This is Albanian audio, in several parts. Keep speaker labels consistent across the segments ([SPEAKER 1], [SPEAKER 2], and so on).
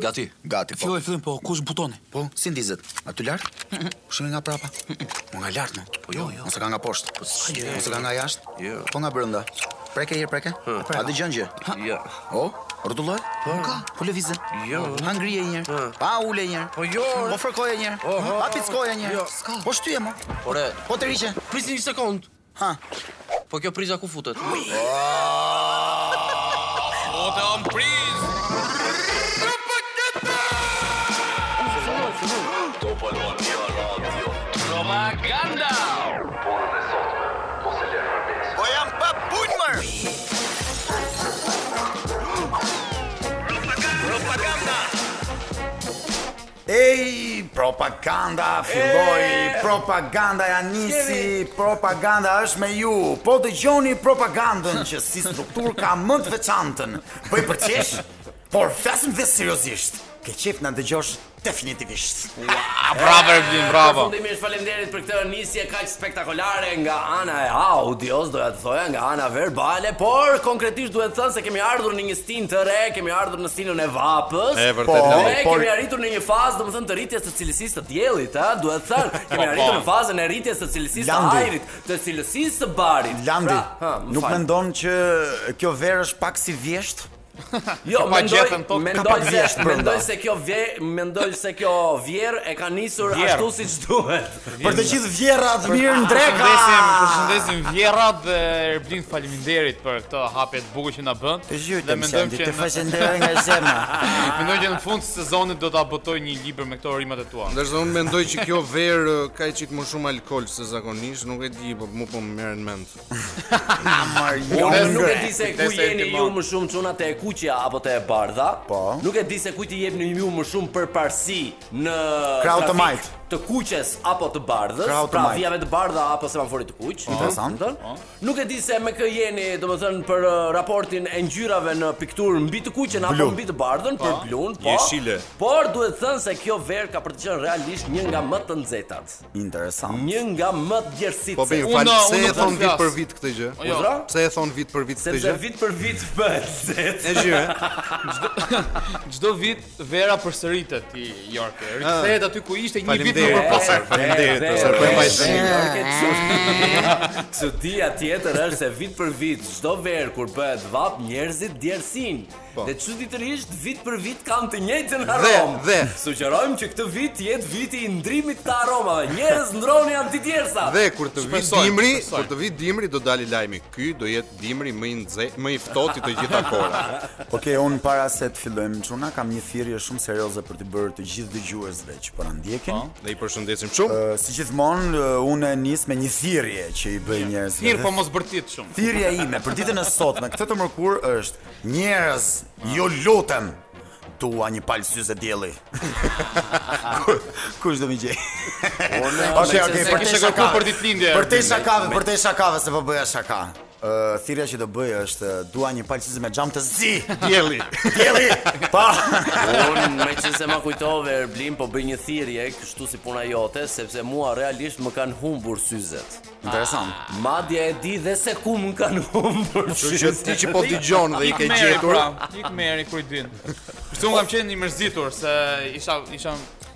[SPEAKER 1] Gati.
[SPEAKER 2] Gati po.
[SPEAKER 3] Filloj, fillim, po, kush butoni?
[SPEAKER 2] Po, si ndizet? Aty lart? Pushimi nga prapa. Po nga lart, no. Po jo, jo. Mos e ka nga poshtë. Po s'ka. Mos e ka nga jashtë.
[SPEAKER 1] Jo.
[SPEAKER 2] Po nga brenda. Preke herë, preke. A dëgjon gjë?
[SPEAKER 1] Ja.
[SPEAKER 2] O, rrotulloj? Po ka. Po lëvizën.
[SPEAKER 1] Jo.
[SPEAKER 2] Ha ngrije një herë.
[SPEAKER 1] Ha.
[SPEAKER 2] Pa ule një herë.
[SPEAKER 1] Po jo.
[SPEAKER 2] Po fërkoje një herë.
[SPEAKER 1] Oho.
[SPEAKER 2] Pa pickoje një
[SPEAKER 1] Jo.
[SPEAKER 2] herë. Po shtyje mo.
[SPEAKER 1] Ore,
[SPEAKER 2] Po të riqe.
[SPEAKER 1] prisni një sekond.
[SPEAKER 2] Ha.
[SPEAKER 1] Po kjo priza ku futet?
[SPEAKER 4] Fote on priz! Propaganda!
[SPEAKER 2] Po jam pa punë mër. Ej, propaganda filloi, propaganda ja nisi, propaganda është me ju. Po dëgjoni propagandën që si struktur ka më të veçantën. Po i përqesh, por flasim dhe seriozisht. Ke qef na dëgjosh definitivisht.
[SPEAKER 4] Bravo, Erblin, bravo!
[SPEAKER 5] Fundimisht faleminderit për këtë nisje kaq spektakolare nga ana e audios, doja të thoja nga ana verbale, por konkretisht duhet të thënë se kemi ardhur në një stinë të re, kemi ardhur në stinën e vapës.
[SPEAKER 4] E vërtet,
[SPEAKER 5] po,
[SPEAKER 4] Lori.
[SPEAKER 5] ne
[SPEAKER 2] por-
[SPEAKER 5] kemi arritur në një fazë, domethënë të rritjes të cilësisë të diellit, ha, duhet të thënë,
[SPEAKER 4] Po,
[SPEAKER 5] kemi
[SPEAKER 4] po.
[SPEAKER 5] arritur në fazën e rritjes të cilësisë të
[SPEAKER 2] Landi.
[SPEAKER 5] ajrit, të cilësisë të barit. Pra,
[SPEAKER 2] Landi,
[SPEAKER 5] ha, më
[SPEAKER 2] nuk
[SPEAKER 5] fal.
[SPEAKER 2] mendon që kjo verë është pak si vjesht?
[SPEAKER 4] Ka
[SPEAKER 5] Jo,
[SPEAKER 4] pa
[SPEAKER 5] mendoj,
[SPEAKER 4] gjetën, po, ka
[SPEAKER 5] mendoj
[SPEAKER 2] pa
[SPEAKER 5] se
[SPEAKER 2] vjesht brenda.
[SPEAKER 5] mendoj se kjo vjer, mendoj se kjo vjer e ka nisur
[SPEAKER 4] Vjer.
[SPEAKER 5] ashtu siç duhet.
[SPEAKER 2] Për të gjithë vjerat mirë ndreka.
[SPEAKER 4] Përshëndesim, përshëndesim Vjerrat dhe Erblin faleminderit për këtë hapje të bukur që na bën.
[SPEAKER 2] Të
[SPEAKER 4] Dhe
[SPEAKER 2] zhytem
[SPEAKER 4] mendojmë
[SPEAKER 2] sendi,
[SPEAKER 4] që
[SPEAKER 2] të
[SPEAKER 4] në-
[SPEAKER 2] faqenderoj nga zemra.
[SPEAKER 4] mendoj që në fund të sezonit do ta botoj një libër me këto rimat e tua.
[SPEAKER 6] Ndërsa unë mendoj që kjo verë ë, ka i qik më shumë alkool se zakonisht, nuk e di, po mu po më merr në mend.
[SPEAKER 5] Unë
[SPEAKER 2] Marion.
[SPEAKER 5] nuk e di se ku
[SPEAKER 4] Kujdes e
[SPEAKER 5] jeni
[SPEAKER 4] timon.
[SPEAKER 5] ju më shumë çuna te e kuqja apo te e bardha.
[SPEAKER 2] Po.
[SPEAKER 5] Nuk e di se kujt i jepni ju më shumë përparësi në
[SPEAKER 2] Krau të
[SPEAKER 5] trafik
[SPEAKER 2] majt.
[SPEAKER 5] Të kuqes apo të bardhës,
[SPEAKER 2] Krau të
[SPEAKER 5] pra
[SPEAKER 2] majt.
[SPEAKER 5] vijave të bardha apo semaforit të kuq.
[SPEAKER 2] Interesant.
[SPEAKER 5] kupton? Nuk e di se me kë jeni, domethënë për uh, raportin e ngjyrave në pikturë mbi të kuqen apo mbi të bardhën, për blun, po.
[SPEAKER 6] Jeshile.
[SPEAKER 5] Por duhet thënë se kjo verë ka për të qenë realisht një nga më të nxehtat,
[SPEAKER 2] Interesant.
[SPEAKER 5] një nga më të djersit.
[SPEAKER 6] Po bëj
[SPEAKER 4] Unë-
[SPEAKER 6] fal, se
[SPEAKER 4] unë
[SPEAKER 6] e thon
[SPEAKER 4] do të
[SPEAKER 6] vit për
[SPEAKER 4] flas.
[SPEAKER 6] vit këtë gjë?
[SPEAKER 4] Jo.
[SPEAKER 6] Pse e thon vit për vit këtë
[SPEAKER 5] sepse
[SPEAKER 6] gjë?
[SPEAKER 5] vit për vit bëhet nxehtë.
[SPEAKER 6] E gjyre,
[SPEAKER 4] Çdo vit Vera përsëritet i York. Rikthehet aty ku ishte një vit më
[SPEAKER 5] Po,
[SPEAKER 6] Faleminderit.
[SPEAKER 4] përpara.
[SPEAKER 6] faleminderit,
[SPEAKER 5] Dhe,
[SPEAKER 6] ose
[SPEAKER 5] dhe,
[SPEAKER 6] po e
[SPEAKER 5] dhe,
[SPEAKER 6] mbajtë
[SPEAKER 5] dhe, orke, çu- Çudia tjetër është se vit për vit, çdo verë kur bëhet vap, njerëzit djersin. Dhe çuditërisht vit për vit kanë të njëjtën aromë.
[SPEAKER 6] Po. dhe.
[SPEAKER 5] sugjerojmë që këtë vit jetë viti i ndrimit të aromave. Njerëz ndroni antidjersa.
[SPEAKER 6] Dhe kur të vi
[SPEAKER 4] Shpresoj,
[SPEAKER 6] dimri,
[SPEAKER 4] shpresoj.
[SPEAKER 6] kur të vi dimri do dali lajmi. Ky do jetë dimri më i nxe, më i ftohtë i të gjitha kohëra.
[SPEAKER 2] Okej, unë para se të fillojmë çuna kam një thirrje shumë serioze për të bërë të gjithë dëgjuesve që po na ndjekin.
[SPEAKER 6] Ne i përshëndesim shumë.
[SPEAKER 2] Ë, Si gjithmonë, ë, unë e nis me një thirrje që i bëj njerëzve.
[SPEAKER 4] Mirë,
[SPEAKER 2] Dhe
[SPEAKER 4] po mos bërtit shumë.
[SPEAKER 2] Thirrja ime për ditën e sotme, këtë të mërkur është njerëz, ju lutem, dua një palë syze dielli. Ku- Kush do më gjej?
[SPEAKER 5] Po,
[SPEAKER 2] Okej, okej,
[SPEAKER 4] se
[SPEAKER 6] po.
[SPEAKER 2] për
[SPEAKER 4] kishe
[SPEAKER 2] te
[SPEAKER 4] kërkuar
[SPEAKER 2] shaka.
[SPEAKER 4] për ditëlindje,
[SPEAKER 2] Për te
[SPEAKER 4] Erbil.
[SPEAKER 2] shakave, për te shakave se po bëja shaka. Ë, thirrja që do bëj është dua një palë syze me xham të zi.
[SPEAKER 6] Dielli.
[SPEAKER 2] Dielli. Pa.
[SPEAKER 5] Unë me që se ma kujtove Erblim po bëj një thirje kështu si puna jote Sepse mua realisht më kanë humbur syzet
[SPEAKER 2] Interesant.
[SPEAKER 5] Madje e di dhe se ku më kanë humbur
[SPEAKER 6] Kështu që
[SPEAKER 5] syzet
[SPEAKER 6] ti që po dëgjon dhe i ke
[SPEAKER 4] Ikmeri,
[SPEAKER 6] gjetur,
[SPEAKER 4] pra, ikmeri kur i din. Kështu unë kam qenë i mërzitur se isha isha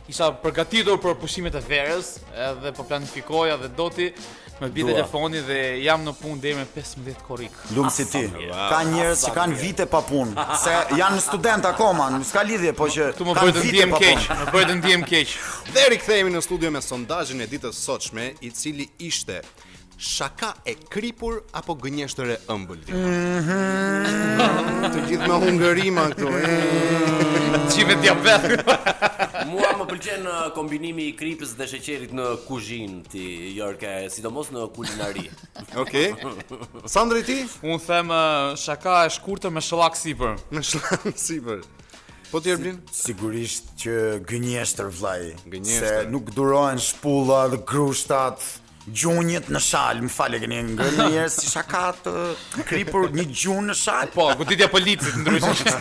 [SPEAKER 4] isha përgatitur për pushimet e verës, edhe po planifikoja dhe doti me bi telefoni dhe jam në punë deri me 15 korrik.
[SPEAKER 2] Lumë si ti. Ka njerëz që kanë vite pa punë, se janë student akoma, nuk s'ka lidhje, po që
[SPEAKER 4] Ktu më
[SPEAKER 2] kanë
[SPEAKER 4] bëhet të
[SPEAKER 2] vite
[SPEAKER 4] ndiem
[SPEAKER 2] pa
[SPEAKER 4] keq,
[SPEAKER 2] punë.
[SPEAKER 4] më bëhet të ndiem keq.
[SPEAKER 6] Dhe rikthehemi në studio me sondazhin e ditës sotshme, i cili ishte Shaka e kripur apo gënjeshtër e ëmbël? Të gjithë me hungërima këtu.
[SPEAKER 4] Çive diabet.
[SPEAKER 5] Mua më pëlqen uh, kombinimi i kripës dhe sheqerit në kuzhinë ti, Jorka, sidomos në kulinari.
[SPEAKER 6] Okej. Sandri ti?
[SPEAKER 4] Unë them ë, shaka e shkurtër me shëllak sipër.
[SPEAKER 6] Në shlan sipër. Po ti Erblin?
[SPEAKER 2] Sigurisht që gënjeshtër vllai, se
[SPEAKER 6] Gënjeshtër.
[SPEAKER 2] nuk durohen shpulla dhe grushtat, gjunjët në shal, më falë keni ngrënë njerëz si shakat, ë, kripur një gjun në shal.
[SPEAKER 4] Po, goditja policit ndryshe.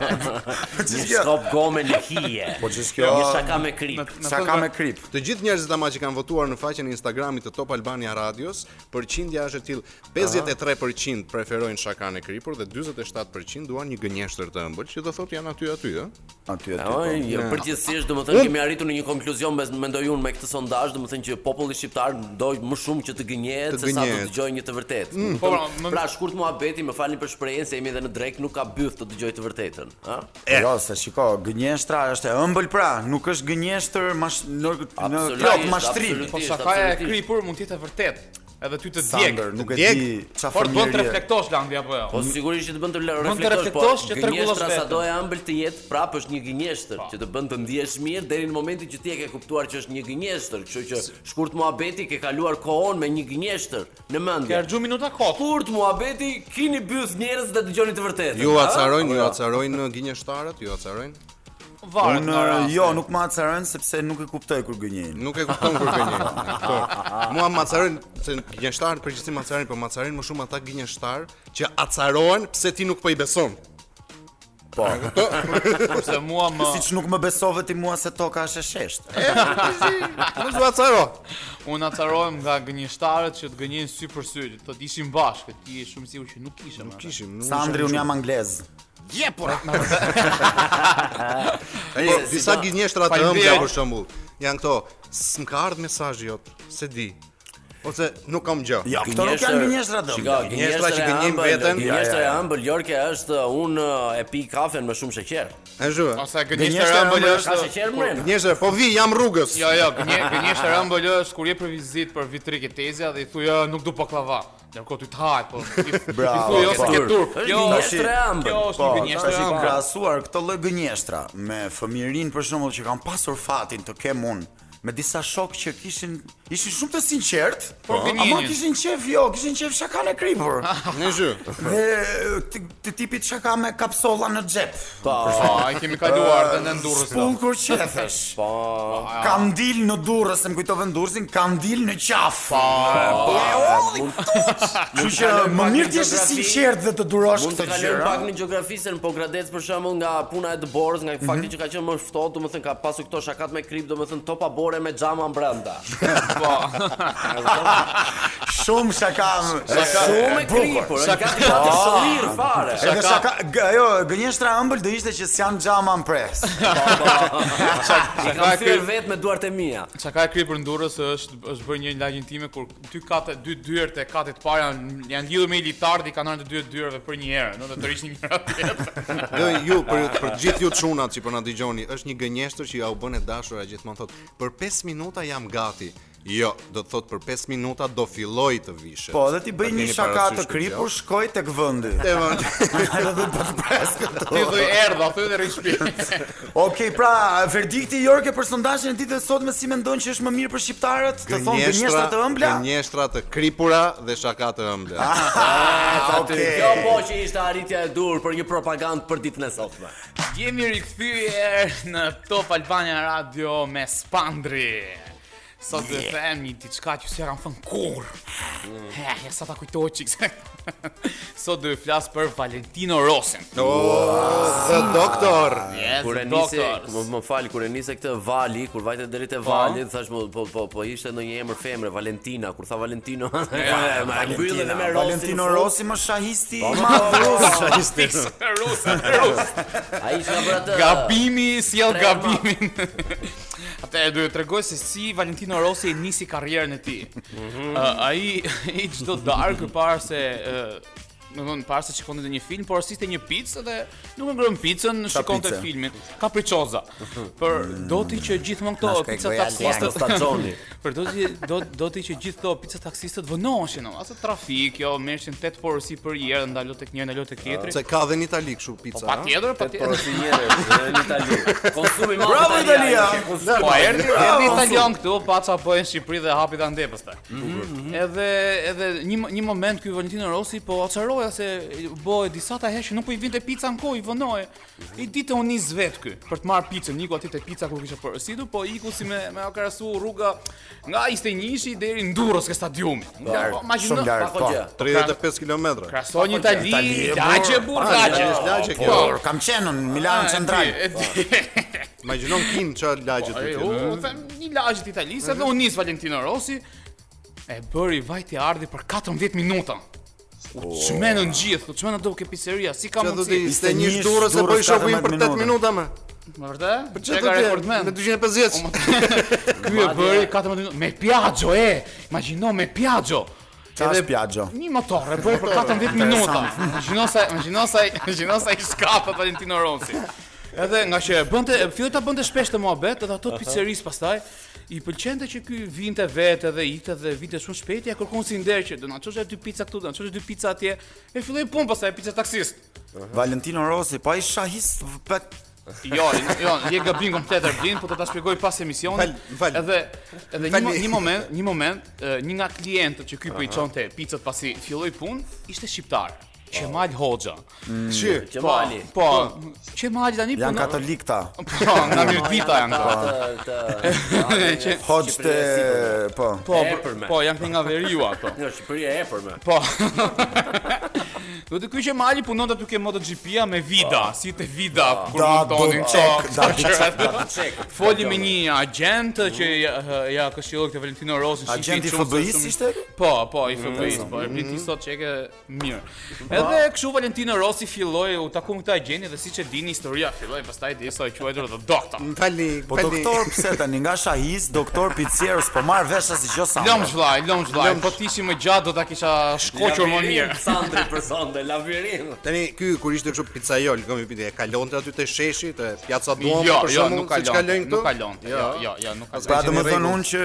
[SPEAKER 5] Një
[SPEAKER 2] ç'është kjo?
[SPEAKER 5] shkop gome lëhije.
[SPEAKER 2] Po ç'është kjo?
[SPEAKER 5] Një shaka me krip.
[SPEAKER 4] Po,
[SPEAKER 2] Shaka me krip.
[SPEAKER 6] Të gjithë njerëzit ama që kanë votuar në faqen e Instagramit të Top Albania Radios, përqindja është e tillë 53% preferojnë shakan e kripur dhe 47% duan një gënjeshtër të ëmbël, që do thotë janë aty aty, ë?
[SPEAKER 2] aty aty.
[SPEAKER 5] Oj,
[SPEAKER 2] po.
[SPEAKER 5] jo, përgjithsisht domethënë kemi arritur në një konkluzion mes mendoj unë me këtë sondazh, domethënë që populli shqiptar do më shumë që të gënjehet
[SPEAKER 6] Të
[SPEAKER 5] se sa të
[SPEAKER 6] gënjehet.
[SPEAKER 5] dëgjojë një të vërtetë.
[SPEAKER 2] Mm,
[SPEAKER 4] Po, pra,
[SPEAKER 5] Domethënë,
[SPEAKER 4] më-
[SPEAKER 5] pra shkurt muhabeti, më falni për shprehjen se jemi edhe në drek nuk ka byth të dëgjoj të vërtetën, ha?
[SPEAKER 2] Jo, se shiko, gënjeshtra është e ëmbël pra, nuk është gënjeshtër mash në në
[SPEAKER 5] Absolutisht,
[SPEAKER 2] plot mashtrim.
[SPEAKER 5] absolutisht.
[SPEAKER 4] Po
[SPEAKER 5] Absolutisht,
[SPEAKER 4] shakaja e
[SPEAKER 5] absolutisht.
[SPEAKER 4] kripur mund të jetë e vërtet. Edhe ty të djeg.
[SPEAKER 2] Sander, nuk e
[SPEAKER 6] Djeg.
[SPEAKER 2] di çfarë
[SPEAKER 4] Por bën të
[SPEAKER 2] fëmijë.
[SPEAKER 4] reflektosh landi apo jo?
[SPEAKER 5] Po sigurisht që të bën të le-
[SPEAKER 4] Bën të
[SPEAKER 5] reflektosh, po
[SPEAKER 4] reflektosh që të rregullosh
[SPEAKER 5] gënjeshtra
[SPEAKER 4] veten.
[SPEAKER 5] sado e ëmbël të jetë, prapë është një gënjeshtër
[SPEAKER 6] Po.
[SPEAKER 5] që të bën të ndihesh mirë deri në momentin që ti e ke kuptuar që është një gënjeshtër, kështu që shkurt muhabeti ke kaluar kohën me një gënjeshtër në
[SPEAKER 4] Ke
[SPEAKER 5] mendje.
[SPEAKER 4] harxhu minuta kot.
[SPEAKER 5] Shkurt muhabeti kini byth njerëz dhe dëgjoni të vërtetën.
[SPEAKER 6] Ju
[SPEAKER 5] ha?
[SPEAKER 6] acarojnë,
[SPEAKER 5] Apo
[SPEAKER 6] ju
[SPEAKER 5] jo?
[SPEAKER 6] acarojnë gënjeshtarët, ju acarojnë.
[SPEAKER 4] Varet
[SPEAKER 2] Unë
[SPEAKER 4] nga rasti.
[SPEAKER 2] jo, nuk ma acarën sepse nuk e kuptoj kur gënjen.
[SPEAKER 6] Nuk e kupton kur gënjen. Po. Mua macarojnë se gënjeshtarët përgjithsisht macarojnë, po macarojnë më shumë ata gënjeshtar që acarohen pse ti nuk po i beson.
[SPEAKER 2] Po,
[SPEAKER 4] Kurse mua më
[SPEAKER 2] siç nuk më besove ti mua se toka është e sheshtë.
[SPEAKER 6] Mos u acaro.
[SPEAKER 4] unë acarohem nga gënjeshtarët që të gënjejnë sy për sy, të të ishim bashkë, ti je shumë sigurt që nuk ishe. Nuk
[SPEAKER 6] Kishim, nuk
[SPEAKER 2] Sandri, unë jam anglez.
[SPEAKER 6] Ai po, disa gënjeshtra të
[SPEAKER 4] Faleminderit.
[SPEAKER 6] ëmbla për shembull. Janë këto, s'm ka ardhur mesazhi jot, se di. Ose nuk kam gjë.
[SPEAKER 2] Jo, këto nuk janë gënjeshtra dëm.
[SPEAKER 5] Shiko,
[SPEAKER 6] Gënjeshtra
[SPEAKER 5] gënjeshtra
[SPEAKER 6] që
[SPEAKER 5] që
[SPEAKER 6] gënjejnë veten.
[SPEAKER 5] Gënjeshtra e ëmbël Jorke është uh, un e pi kafen me shumë sheqer.
[SPEAKER 6] E zhë.
[SPEAKER 4] Ose gënjeshtra
[SPEAKER 2] Gënjeshtra
[SPEAKER 4] ëmbël
[SPEAKER 2] ëmbël
[SPEAKER 5] Ka
[SPEAKER 4] është
[SPEAKER 5] sheqer më rënë.
[SPEAKER 6] Gënjeshtra, po vi, jam rrugës.
[SPEAKER 4] Jo, jo, gënje, gënjeshtra ëmbël është kur je për vizitë për vitrik e tezja dhe i thuj, "Jo, nuk du baklava." Ndërkohë ty të haj, po. i- I
[SPEAKER 2] Bravo,
[SPEAKER 4] thuj, "Jo, s'ke
[SPEAKER 2] po.
[SPEAKER 4] turp."
[SPEAKER 5] Është
[SPEAKER 4] Jo,
[SPEAKER 5] gënjeshtra e ëmbël.
[SPEAKER 4] Kjo është
[SPEAKER 2] Po,
[SPEAKER 4] një
[SPEAKER 2] tash
[SPEAKER 4] gënjeshtra
[SPEAKER 2] i
[SPEAKER 4] e ëmbël.
[SPEAKER 2] krahasuar këto lloj gënjeshtra me fëmijërin për shembull që kanë pasur fatin të kem unë me disa shok që kishin ishin shumë të sinqert,
[SPEAKER 4] Por
[SPEAKER 2] ama
[SPEAKER 4] gënjenin.
[SPEAKER 2] kishin qef jo, kishin qef shaka në kripur.
[SPEAKER 4] jo.
[SPEAKER 6] Në zhë.
[SPEAKER 2] Dhe të, të tipit shaka me kapsolla në xhep.
[SPEAKER 4] Po, ai kemi kaluar dhe në Durrës. do.
[SPEAKER 2] Spun kur qefesh.
[SPEAKER 5] Po,
[SPEAKER 2] Kam dil në Durrës, se më kujtove në Durrësin, kam dil në qaf. Po, po, Kështu që
[SPEAKER 5] kalojmë
[SPEAKER 2] më
[SPEAKER 5] pak
[SPEAKER 2] mirë
[SPEAKER 5] në
[SPEAKER 2] të jesh i
[SPEAKER 5] gjeografi,
[SPEAKER 2] sinqert dhe të durosh
[SPEAKER 5] mund të
[SPEAKER 2] këtë
[SPEAKER 5] kalojmë
[SPEAKER 2] gjëra.
[SPEAKER 5] pak në gjeografi se në Pogradec për shembull nga puna e Dborës, nga
[SPEAKER 2] Mhm.
[SPEAKER 5] fakti që ka qenë më ftohtë, domethënë ka pasur këto shakat me krip, domethënë topa bore me xhama brenda.
[SPEAKER 4] Po.
[SPEAKER 2] Shumë shaka.
[SPEAKER 5] Shumë e po,
[SPEAKER 2] bukur.
[SPEAKER 5] kripur, është gati gati shollir fare.
[SPEAKER 2] Edhe shaka, g- ajo gënjeshtra ëmbël do ishte që s'janë xhama në pres.
[SPEAKER 5] I kam thyer vetë me duart e mia.
[SPEAKER 4] Çka ka e kripur ndurës është është bërë një lagjin time kur dy katë dy dyert e katit parë janë janë lidhur me litar dhe i kanë ardhur dy dyerve për një herë, do të tërhiqni njëra tjetrën.
[SPEAKER 6] Dhe ju për për gjithë ju çunat që po na dëgjoni, është një gënjeshtër që ja u bën e dashura gjithmonë thotë, për 5 minuta jam gati. Jo, do të thotë për 5 minuta do filloj të vishet.
[SPEAKER 2] Po, dhe ti bëj
[SPEAKER 6] Ta
[SPEAKER 2] një
[SPEAKER 6] keni
[SPEAKER 2] shaka të
[SPEAKER 6] parasysh këtë
[SPEAKER 2] kripur, shkoj tek vendi. Edhe do të pres këtu.
[SPEAKER 4] Ti do erdha, aty dhe rrit shtëpi.
[SPEAKER 2] Okej, pra, verdikti Jorke për sondazhin e ditës sot me si mendon që është më mirë për shqiptarët të thonë gënjeshtra të ëmbla? Ah.
[SPEAKER 6] Gënjeshtra të kripura dhe shaka të ëmbla.
[SPEAKER 2] Okej.
[SPEAKER 5] Kjo po që ishte arritja e dur për një propagandë për ditën e sotme.
[SPEAKER 4] Jemi rikthyer në Top Albania Radio me Spandri. Sot do të them një diçka që s'ja kam thënë kur.
[SPEAKER 5] Mm.
[SPEAKER 4] Ha, ja sa ta kujtoj çik. Sot do të flas për Valentino Rosin.
[SPEAKER 6] O, zë doktor.
[SPEAKER 4] Yes,
[SPEAKER 5] Oh, Kur e nisi,
[SPEAKER 4] doctors.
[SPEAKER 5] më, më fal, kur e nisi këtë vali, kur vajte deri te vali, thash më po po po ishte ndonjë emër femre, Valentina, kur tha Valentino. Ma mbyllën me Rosin.
[SPEAKER 2] Valentino Rossi më shahisti i
[SPEAKER 5] Ma
[SPEAKER 2] madh rus.
[SPEAKER 4] Rosin, Rosin.
[SPEAKER 5] Ai ishte nga atë.
[SPEAKER 4] Gabimi, sjell
[SPEAKER 5] Trema.
[SPEAKER 4] gabimin. Atë do të tregoj se si Valentino Rossi e nisi karrierën e tij.
[SPEAKER 2] Mhm.
[SPEAKER 4] Ë, Ai i çdo darkë para se ë, Më vonë para se shikonte në një film, por asiste një pizzë dhe nuk e ngrën pizzën, shikonte
[SPEAKER 2] pizza? Mhm.
[SPEAKER 4] filmin. Kapriçoza. Por doti që gjithmonë këto
[SPEAKER 2] Nashka i
[SPEAKER 4] pizza
[SPEAKER 2] goja
[SPEAKER 4] taksiste
[SPEAKER 5] Leango Stagjoni.
[SPEAKER 4] Por do ti do do ti që gjithë këto pizza taksistët vënoheshin, o, asë trafik, jo, merrshin 8 porosi për një herë, ndalo tek njëri, ndalo tek tjetri.
[SPEAKER 6] Se ka dhe në Itali kështu pica. ha?
[SPEAKER 4] Po, Patjetër, patjetër.
[SPEAKER 5] Por si njerëz në Itali. Konsumi madh.
[SPEAKER 2] Bravo, Italia!
[SPEAKER 4] Po erdi erdi italian këtu, paca po e në Shqipëri dhe hapi ta ndej pastaj. Edhe edhe një mo- një moment ky Valentino Rossi po acaroja se bëhe disa ta heshë nuk po i vinte pica në kohë, i vënoje. I ditë u nis vet ky për të marr picën, iku aty te pica kur kishte porositur, po iku si me me akarasu rruga nga 21-shi deri në Durrës ke stadiumi. Po,
[SPEAKER 2] Shumë
[SPEAKER 4] Imagjino
[SPEAKER 2] larg,
[SPEAKER 5] Pako
[SPEAKER 2] po.
[SPEAKER 5] gjë.
[SPEAKER 6] 35 kilometra.
[SPEAKER 4] Krason Itali,
[SPEAKER 2] Itali,
[SPEAKER 4] lagje
[SPEAKER 2] burr,
[SPEAKER 4] burraqe.
[SPEAKER 6] lagje, lagje,
[SPEAKER 4] Po,
[SPEAKER 6] kjo.
[SPEAKER 2] Por kam qenë në Milan
[SPEAKER 4] e
[SPEAKER 2] Central.
[SPEAKER 4] di, e di.
[SPEAKER 6] Imagjinon kin çfarë lagje të
[SPEAKER 4] Po, E,
[SPEAKER 6] kenë.
[SPEAKER 4] u, u them një lagje të Italisë dhe u nis Valentino Rossi e bëri vajti ardhi për 14 minuta. U çmenën gjithë, u çmenën do ke pizzeria, si ka
[SPEAKER 6] Që Po. do të
[SPEAKER 4] mundsi?
[SPEAKER 6] ishte një
[SPEAKER 2] ishte
[SPEAKER 6] durrës se po i shohim për
[SPEAKER 2] 14
[SPEAKER 6] 8 minuta më.
[SPEAKER 4] Më vërtet? Për
[SPEAKER 6] Po Çfarë
[SPEAKER 4] çka rekordmen? Po,
[SPEAKER 6] Me 250.
[SPEAKER 4] Ky e bëri 14 minuta me Piaggio, e. Imagjino me Piaggio.
[SPEAKER 2] Qa
[SPEAKER 4] Edhe
[SPEAKER 2] është Piaggio?
[SPEAKER 4] Një motor e bëri për 14 minuta. Imagjino sa, imagjino sa, imagjino sa i skapa Valentino Rossi. Edhe nga që e bënte, e filloi ta bënte shpesh të mohabet, edhe ato të pizzeris pastaj i pëlqente që ky vinte vetë edhe ikte dhe vinte shumë shpejt, ja kërkon si nder që do na çoshë dy pica këtu, do na çoshë dy pica atje. E filloi pun pastaj pica taksist.
[SPEAKER 2] Valentino Rossi, po ai shahist pa
[SPEAKER 4] Jo, jo, je gabim komplet Erbin, po do ta shpjegoj pas emisionit.
[SPEAKER 6] Fal- fal.
[SPEAKER 4] Edhe edhe një,
[SPEAKER 6] Fal-
[SPEAKER 4] mo- një moment, një moment, e, një nga klientët që ky po i çonte picat pasi filloi punë, ishte shqiptar. Qemal Hoxha.
[SPEAKER 6] Shi.
[SPEAKER 5] Qemali.
[SPEAKER 4] Po, po, Qemali tani
[SPEAKER 2] janë
[SPEAKER 4] punon-
[SPEAKER 2] katolik ta.
[SPEAKER 4] Po, nga Mirdita janë këta. Që-
[SPEAKER 2] Hoxh te po.
[SPEAKER 4] Po,
[SPEAKER 5] E
[SPEAKER 4] po,
[SPEAKER 5] përmen.
[SPEAKER 4] po, janë këta nga veriu ato.
[SPEAKER 5] Në Shqipëria e përme.
[SPEAKER 4] Po. Do të ky Qemali punon aty ke MotoGP-a me Vida, si te Vida kur
[SPEAKER 2] Da do
[SPEAKER 4] montonin
[SPEAKER 2] çek, da do
[SPEAKER 4] çka-
[SPEAKER 2] çek.
[SPEAKER 5] Çek.
[SPEAKER 4] Foli me një agent që ja, ja këshilloi këtë Valentino Rossi. që
[SPEAKER 2] Agenti
[SPEAKER 4] ishte i qonse
[SPEAKER 2] FBI
[SPEAKER 4] shumë-
[SPEAKER 2] ishte? Mhm.
[SPEAKER 4] Po, po, i FBI-s, po, e priti sot çeke mirë. Edhe kështu Valentino Rossi filloi u taku me këtë agenti dhe siç e dini historia filloi pastaj deri sa e quajtur the doctor.
[SPEAKER 6] Falni.
[SPEAKER 2] Po doktor pse tani nga shahist, doktor pizzerës, po marr vesh as gjë sa.
[SPEAKER 4] Lëm vllai, lëm vllai, po ti ishi më gjatë do ta kisha shkoqur më mirë.
[SPEAKER 5] Sandri për sonde, labirint.
[SPEAKER 6] Tani ky kur ishte kështu pizzajol, kam i pyetje, e kalonte aty te sheshi, te Piazza Duomo
[SPEAKER 4] Jo,
[SPEAKER 6] për
[SPEAKER 4] jo,
[SPEAKER 6] shembull,
[SPEAKER 4] nuk ka
[SPEAKER 6] siç kalojnë
[SPEAKER 4] lënë,
[SPEAKER 6] këtu?
[SPEAKER 4] nuk ka lënë. Jo, jo, jo, nuk ka
[SPEAKER 2] Pra
[SPEAKER 4] lënë.
[SPEAKER 2] do të thonë unë që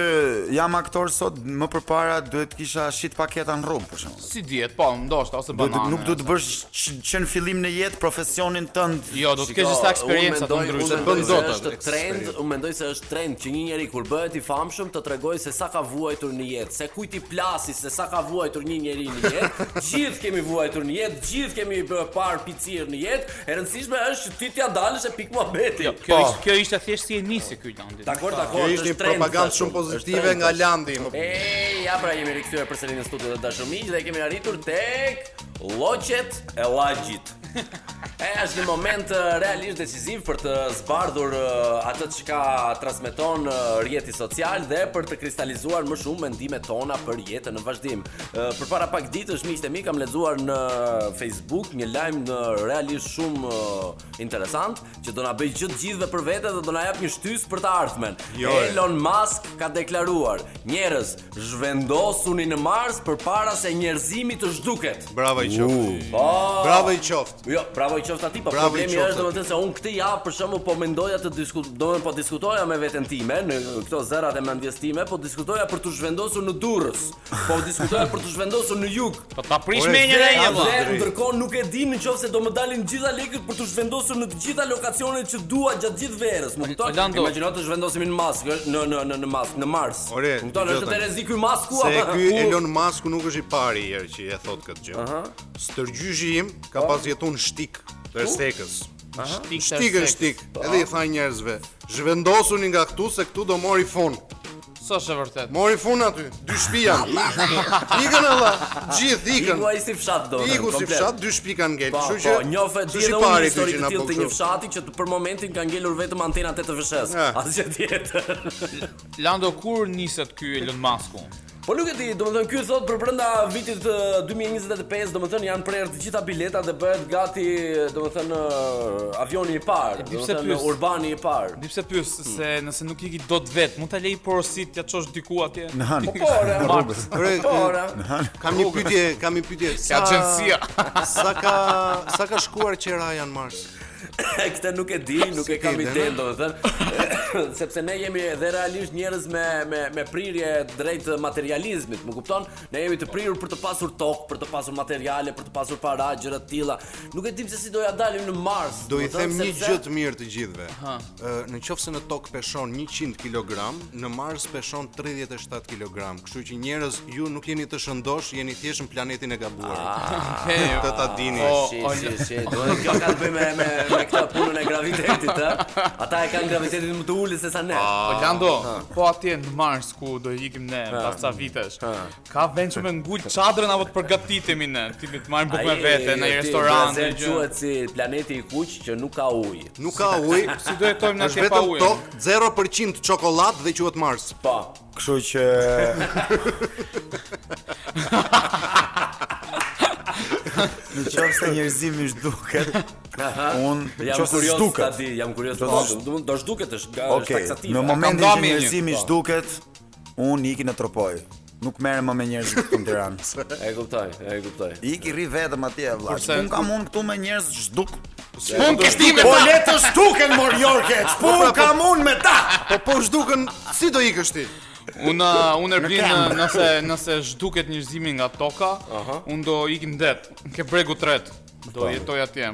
[SPEAKER 2] jam aktor sot, më përpara duhet kisha shit paketa në rrugë për shembull.
[SPEAKER 4] Si dihet, po, ndoshta ose
[SPEAKER 2] Do të
[SPEAKER 4] banane.
[SPEAKER 2] nuk do të bësh që- që në fillim në jetë profesionin tënd.
[SPEAKER 4] Jo, do të kesh disa eksperjenca të ndryshme.
[SPEAKER 6] bën
[SPEAKER 5] Unë mendoj se
[SPEAKER 6] dota,
[SPEAKER 5] është trend,
[SPEAKER 6] eksperiencë.
[SPEAKER 5] unë mendoj se është trend që një njeri kur bëhet i famshëm të tregoj se sa ka vuajtur në jetë, se kujt i plasi se sa ka vuajtur një njeri në jetë. gjithë kemi vuajtur në jetë, gjithë kemi bërë par picir në jetë. E rëndësishme është që ti t'ia dalësh e pik Po. muhabeti.
[SPEAKER 4] Jo,
[SPEAKER 2] Po.
[SPEAKER 4] Kjo ishte, kjo ishte thjesht si e nisi ky landi.
[SPEAKER 5] Dakor, dakor,
[SPEAKER 6] Kjo ishte një
[SPEAKER 5] është trend.
[SPEAKER 6] propagandë
[SPEAKER 5] thash
[SPEAKER 6] shumë
[SPEAKER 5] unë, është
[SPEAKER 6] pozitive
[SPEAKER 5] trend,
[SPEAKER 6] nga
[SPEAKER 5] thash.
[SPEAKER 6] Landi. më-
[SPEAKER 5] E, ja pra jemi rikthyer përsëri në studio të dashur miq dhe kemi arritur tek lloqet e llagjit. E është një moment eh, realisht decisiv për të zbardhur eh, atë që ka transmeton eh, rrjeti social dhe për të kristalizuar më shumë mendimet tona për jetën në vazhdim. Eh, Përpara pak ditësh miqtë e mi kam lexuar në Facebook një lajm në realisht shumë eh, interesant që do na bëj gjë të gjithëve për vete dhe do na jap një shtys për të ardhmen.
[SPEAKER 6] Jo, e.
[SPEAKER 5] Elon Musk ka deklaruar, njerëz, zhvendosuni në Mars përpara se njerëzimi të zhduket.
[SPEAKER 6] Bravo i qoftë.
[SPEAKER 5] Po.
[SPEAKER 6] Bravo i qoftë.
[SPEAKER 5] Jo, bravo i qoftë atij, po
[SPEAKER 6] Bravo i
[SPEAKER 5] problemi
[SPEAKER 6] qoftë.
[SPEAKER 5] është domethënë se unë këtë javë për shembull po mendoja të diskutoj, domethënë po diskutoja me veten time në këto zërat e mendjes time, po diskutoja për të zhvendosur në Durrës, po diskutoja për të zhvendosur në Jug.
[SPEAKER 4] Po ta prish
[SPEAKER 6] Ore,
[SPEAKER 4] me një
[SPEAKER 6] dhe-
[SPEAKER 4] rënjë
[SPEAKER 6] a
[SPEAKER 4] vëlla.
[SPEAKER 6] dhe-
[SPEAKER 5] Dhe ndërkohë nuk e di nëse do më dalin gjitha lekët për të zhvendosur në të gjitha lokacionet që dua gjatë gjithë verës. Më kupton?
[SPEAKER 4] Orlando.
[SPEAKER 5] Imagjino të zhvendosemi në Mask, ë, në në në në Mask, në Mars.
[SPEAKER 6] Ore,
[SPEAKER 5] Më kupton? Është
[SPEAKER 6] dëgjoj
[SPEAKER 5] të
[SPEAKER 6] tani.
[SPEAKER 5] rreziku i Masku
[SPEAKER 6] Se
[SPEAKER 5] apo?
[SPEAKER 6] ky Elon Musk nuk është i pari herë që e thot këtë gjë. Stërgjyshi im
[SPEAKER 5] Po.
[SPEAKER 6] ka pas jetuar në shtik të stekës.
[SPEAKER 4] Shtik,
[SPEAKER 6] Shtik në shtik.
[SPEAKER 5] Po.
[SPEAKER 6] Edhe i tha njerëzve, zhvendosuni nga këtu se këtu do mori fun.
[SPEAKER 4] S'është e vërtet.
[SPEAKER 6] Mori fun aty, dy shtëpi janë. Ikën alla, gjithë ikën.
[SPEAKER 5] Iku ai si fshat do.
[SPEAKER 6] Iku si fshat, dy shtëpi kanë ngel.
[SPEAKER 5] Po,
[SPEAKER 6] Kështu
[SPEAKER 5] po,
[SPEAKER 6] që
[SPEAKER 5] njofe di
[SPEAKER 6] s'është i
[SPEAKER 5] edhe unë
[SPEAKER 6] pari ky
[SPEAKER 5] histori
[SPEAKER 6] që
[SPEAKER 5] të
[SPEAKER 6] na
[SPEAKER 5] tillë
[SPEAKER 6] po
[SPEAKER 5] të një
[SPEAKER 6] kështu.
[SPEAKER 5] fshati që të- për momentin ka ngelur vetëm antenat e të vëshës.
[SPEAKER 6] Ja.
[SPEAKER 5] Asgjë tjetër.
[SPEAKER 4] Lando kur niset ky Elon Musku?
[SPEAKER 5] Po nuk e di, domethënë ky thot për brenda vitit eh, 2025, domethënë janë prerë të gjitha biletat dhe bëhet gati, domethënë eh, avioni i parë,
[SPEAKER 4] di pse
[SPEAKER 5] domethënë
[SPEAKER 4] pyes.
[SPEAKER 5] urbani i parë.
[SPEAKER 4] Di pse pyes se nëse nuk iki dot vet, mund ta lej porosit ja çosh diku atje.
[SPEAKER 2] Në hënë.
[SPEAKER 5] Po, ora.
[SPEAKER 4] Mars.
[SPEAKER 6] Ore,
[SPEAKER 5] Po, ora.
[SPEAKER 6] Kam një pyetje, kam një pyetje.
[SPEAKER 4] Ka agjencia.
[SPEAKER 6] Sa ka sa ka shkuar qeraja në Mars?
[SPEAKER 5] E, Këtë nuk e di, nuk e kam
[SPEAKER 6] ide,
[SPEAKER 5] iden, domethënë, sepse ne jemi edhe realisht njerëz me me me prirje drejt materializmit, më kupton? Ne jemi të prirur për të pasur tokë, për të pasur materiale, për të pasur para, gjëra të tilla. Nuk e dim se si do ja dalim në Mars.
[SPEAKER 6] Do i
[SPEAKER 5] domethënë,
[SPEAKER 6] them një
[SPEAKER 5] Po, sepse-
[SPEAKER 6] gjë të mirë të gjithëve. Ë, Në qoftë se në tokë peshon 100 kg, në Mars peshon 37 kg. Kështu që njerëz ju nuk jeni të shëndosh, jeni thjesht në planetin e gabuar.
[SPEAKER 5] Ah.
[SPEAKER 6] Të ta dini.
[SPEAKER 4] Po,
[SPEAKER 5] Shi,
[SPEAKER 4] o,
[SPEAKER 5] shi, shi. Do të kjo ka të bëjë me me me këtë punën e gravitetit, ë? Ata e kanë gravitetin më të ulët se sa ne.
[SPEAKER 4] Orlando, po atje në Mars ku do ikim ne pas ca vitesh. Ka vend që me ngul çadrën apo të përgatitemi ne, tipi të marrim bukë me
[SPEAKER 5] Ai,
[SPEAKER 4] vete në
[SPEAKER 5] ti,
[SPEAKER 4] një restorant.
[SPEAKER 5] Brazil
[SPEAKER 4] një gjë.
[SPEAKER 5] quhet si planeti i kuq që nuk ka ujë.
[SPEAKER 6] Nuk ka ujë,
[SPEAKER 4] Si do jetojmë ne
[SPEAKER 6] është
[SPEAKER 4] atje pa
[SPEAKER 6] vetëm
[SPEAKER 4] ujë?
[SPEAKER 6] tokë 0% çokoladë dhe quhet Mars.
[SPEAKER 5] Po.
[SPEAKER 2] Kështu që Në qoftë se njerëzimi zhduket, unë në
[SPEAKER 5] Jam
[SPEAKER 2] qoftë se
[SPEAKER 5] kurios ta
[SPEAKER 2] zhduket.
[SPEAKER 5] di, jam kurios ta
[SPEAKER 2] Do
[SPEAKER 5] di.
[SPEAKER 2] të-
[SPEAKER 5] Do do zhduket është nga është
[SPEAKER 2] Okej,
[SPEAKER 5] taksative.
[SPEAKER 2] në momentin
[SPEAKER 4] Kam dhënë
[SPEAKER 2] që njerëzimi
[SPEAKER 5] një, po.
[SPEAKER 2] zhduket, unë iki në tropoj. Nuk merrem më me njerëz këtu në Tiranë.
[SPEAKER 5] E kuptoj, e kuptoj.
[SPEAKER 2] Iki rri vetëm atje vëlla.
[SPEAKER 4] Kurse-
[SPEAKER 2] Unë kam unë këtu me njerëz zhduk.
[SPEAKER 4] Pun kështime
[SPEAKER 2] Po
[SPEAKER 4] ta.
[SPEAKER 2] le të zhduken mor Jorke. Pun kam unë me ta.
[SPEAKER 6] Po po zhduken, si do ikësh ti?
[SPEAKER 4] Unë uh, unë Erbin
[SPEAKER 2] këmbë.
[SPEAKER 4] nëse nëse zhduket njerëzimi nga toka, unë do ikim det. Ke bregu tret. Do jetoj atje.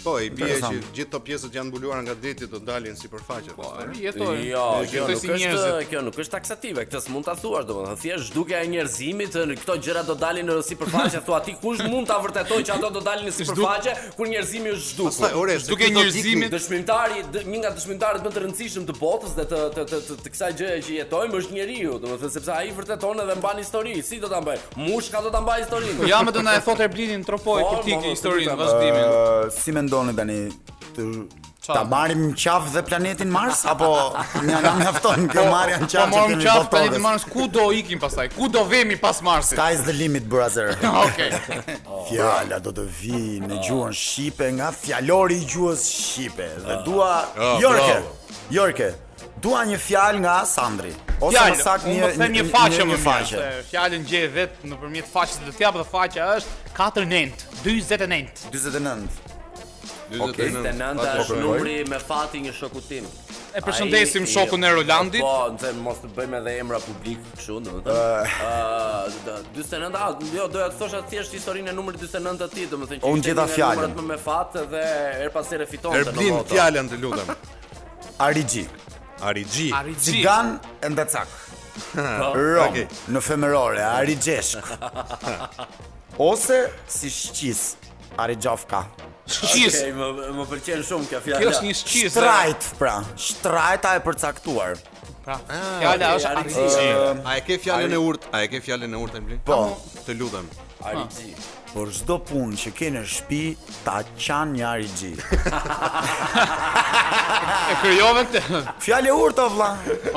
[SPEAKER 6] Po, i bie që
[SPEAKER 2] Interesant.
[SPEAKER 6] gjithë këto pjesët janë mbuluara nga driti do dalin sipërfaqe. Po,
[SPEAKER 4] Jetoj.
[SPEAKER 5] Jo, kjo
[SPEAKER 4] jetoj
[SPEAKER 5] nuk
[SPEAKER 4] si
[SPEAKER 5] është,
[SPEAKER 4] njerëzit.
[SPEAKER 5] kjo nuk është taksative. Këtë s'mund ta thuash domethënë. Thjesht zhdukja e njerëzimit, në- këto gjëra do dalin në sipërfaqe, thua ti kush mund ta vërtetojë që ato do dalin në sipërfaqe kur njerëzimi është
[SPEAKER 6] Pastaj,
[SPEAKER 5] zhdukur.
[SPEAKER 6] ore, se
[SPEAKER 4] Zhduke
[SPEAKER 6] ti do
[SPEAKER 4] njerëzimit,
[SPEAKER 6] t'ikni-
[SPEAKER 5] Dëshmimtari, dë- një nga dëshmimtarët më të rëndësishëm të botës dhe të të të të, të kësaj gjëje që jetojmë është njeriu, domethënë sepse ai vërteton edhe mban histori. Si do ta mbaj? Mushka do ta mbaj historinë.
[SPEAKER 4] Ja më do na e thot Erbinin tropoj
[SPEAKER 5] Po,
[SPEAKER 4] kur ti
[SPEAKER 5] mo,
[SPEAKER 4] ke
[SPEAKER 5] mo,
[SPEAKER 4] historinë
[SPEAKER 5] s'e kuptoj.
[SPEAKER 4] vazhdimin.
[SPEAKER 2] Ë, si mendoni tani të Ta marrim në qafë dhe planetin Mars apo na na mjafton kjo marrja në
[SPEAKER 4] Po
[SPEAKER 2] qafë që
[SPEAKER 4] morëm
[SPEAKER 2] kemi
[SPEAKER 4] qafë tani të
[SPEAKER 2] botërës?
[SPEAKER 4] marrësh ku do ikim pastaj? Ku do vemi pas Marsit?
[SPEAKER 2] Sky's the limit brother.
[SPEAKER 4] Okej. Oh.
[SPEAKER 2] Fjala do të vi në gjuhën shqipe nga fjalori i gjuhës shqipe dhe
[SPEAKER 4] Ah.
[SPEAKER 2] dua Jorke. Jorke, dua një fjalë nga Sandri. Ose
[SPEAKER 4] Fjalë,
[SPEAKER 2] më saktë
[SPEAKER 4] unë do
[SPEAKER 2] Po, një
[SPEAKER 4] të them një faqe më
[SPEAKER 2] një
[SPEAKER 4] faqe. Fjalën gjej vet nëpërmjet faqes do t'jap dhe faqja është 49, 49.
[SPEAKER 2] 49. Okej.
[SPEAKER 5] 29
[SPEAKER 2] Po,
[SPEAKER 5] është
[SPEAKER 2] po,
[SPEAKER 5] numri me fati një shoku tim.
[SPEAKER 4] E përshëndesim
[SPEAKER 5] Ai-
[SPEAKER 4] shokun e Rolandit.
[SPEAKER 5] Po, nëse mos të bëjmë edhe emra publik kështu, domethënë.
[SPEAKER 2] Eh.
[SPEAKER 5] Ah, Ë, 49, a, jo, doja të thosha thjesht historinë e numrit 49 të tij, domethënë që
[SPEAKER 2] Unë
[SPEAKER 5] ishte
[SPEAKER 2] gjeta
[SPEAKER 5] një nga
[SPEAKER 2] fjalën.
[SPEAKER 5] numrat më me fat dhe her pas here fitonte në
[SPEAKER 6] Erblin
[SPEAKER 5] botë.
[SPEAKER 6] fjalën të lutem.
[SPEAKER 2] Arigji.
[SPEAKER 6] Arigji.
[SPEAKER 4] Arigji.
[SPEAKER 2] Cigan and the cak. Rom
[SPEAKER 6] Okej.
[SPEAKER 2] në femërore, arigjeshk. Ose si shqis, arigjofka.
[SPEAKER 4] Shqis.
[SPEAKER 5] Okej, më më pëlqen shumë kjo fjalë.
[SPEAKER 4] Kjo është një shqis.
[SPEAKER 2] Shtrajt pra, shtrajta e përcaktuar.
[SPEAKER 4] Pra, fjala
[SPEAKER 5] okej,
[SPEAKER 4] është
[SPEAKER 5] arigji.
[SPEAKER 4] arigji.
[SPEAKER 6] A e ke fjalën e urt? A e ke fjalën e urt Erblin?
[SPEAKER 2] Po.
[SPEAKER 6] Të lutem.
[SPEAKER 5] Arigji.
[SPEAKER 2] Por çdo punë që ke në shtëpi ta qan një arigji.
[SPEAKER 4] E krijove këtë.
[SPEAKER 2] Fjalë e urtë o vlla.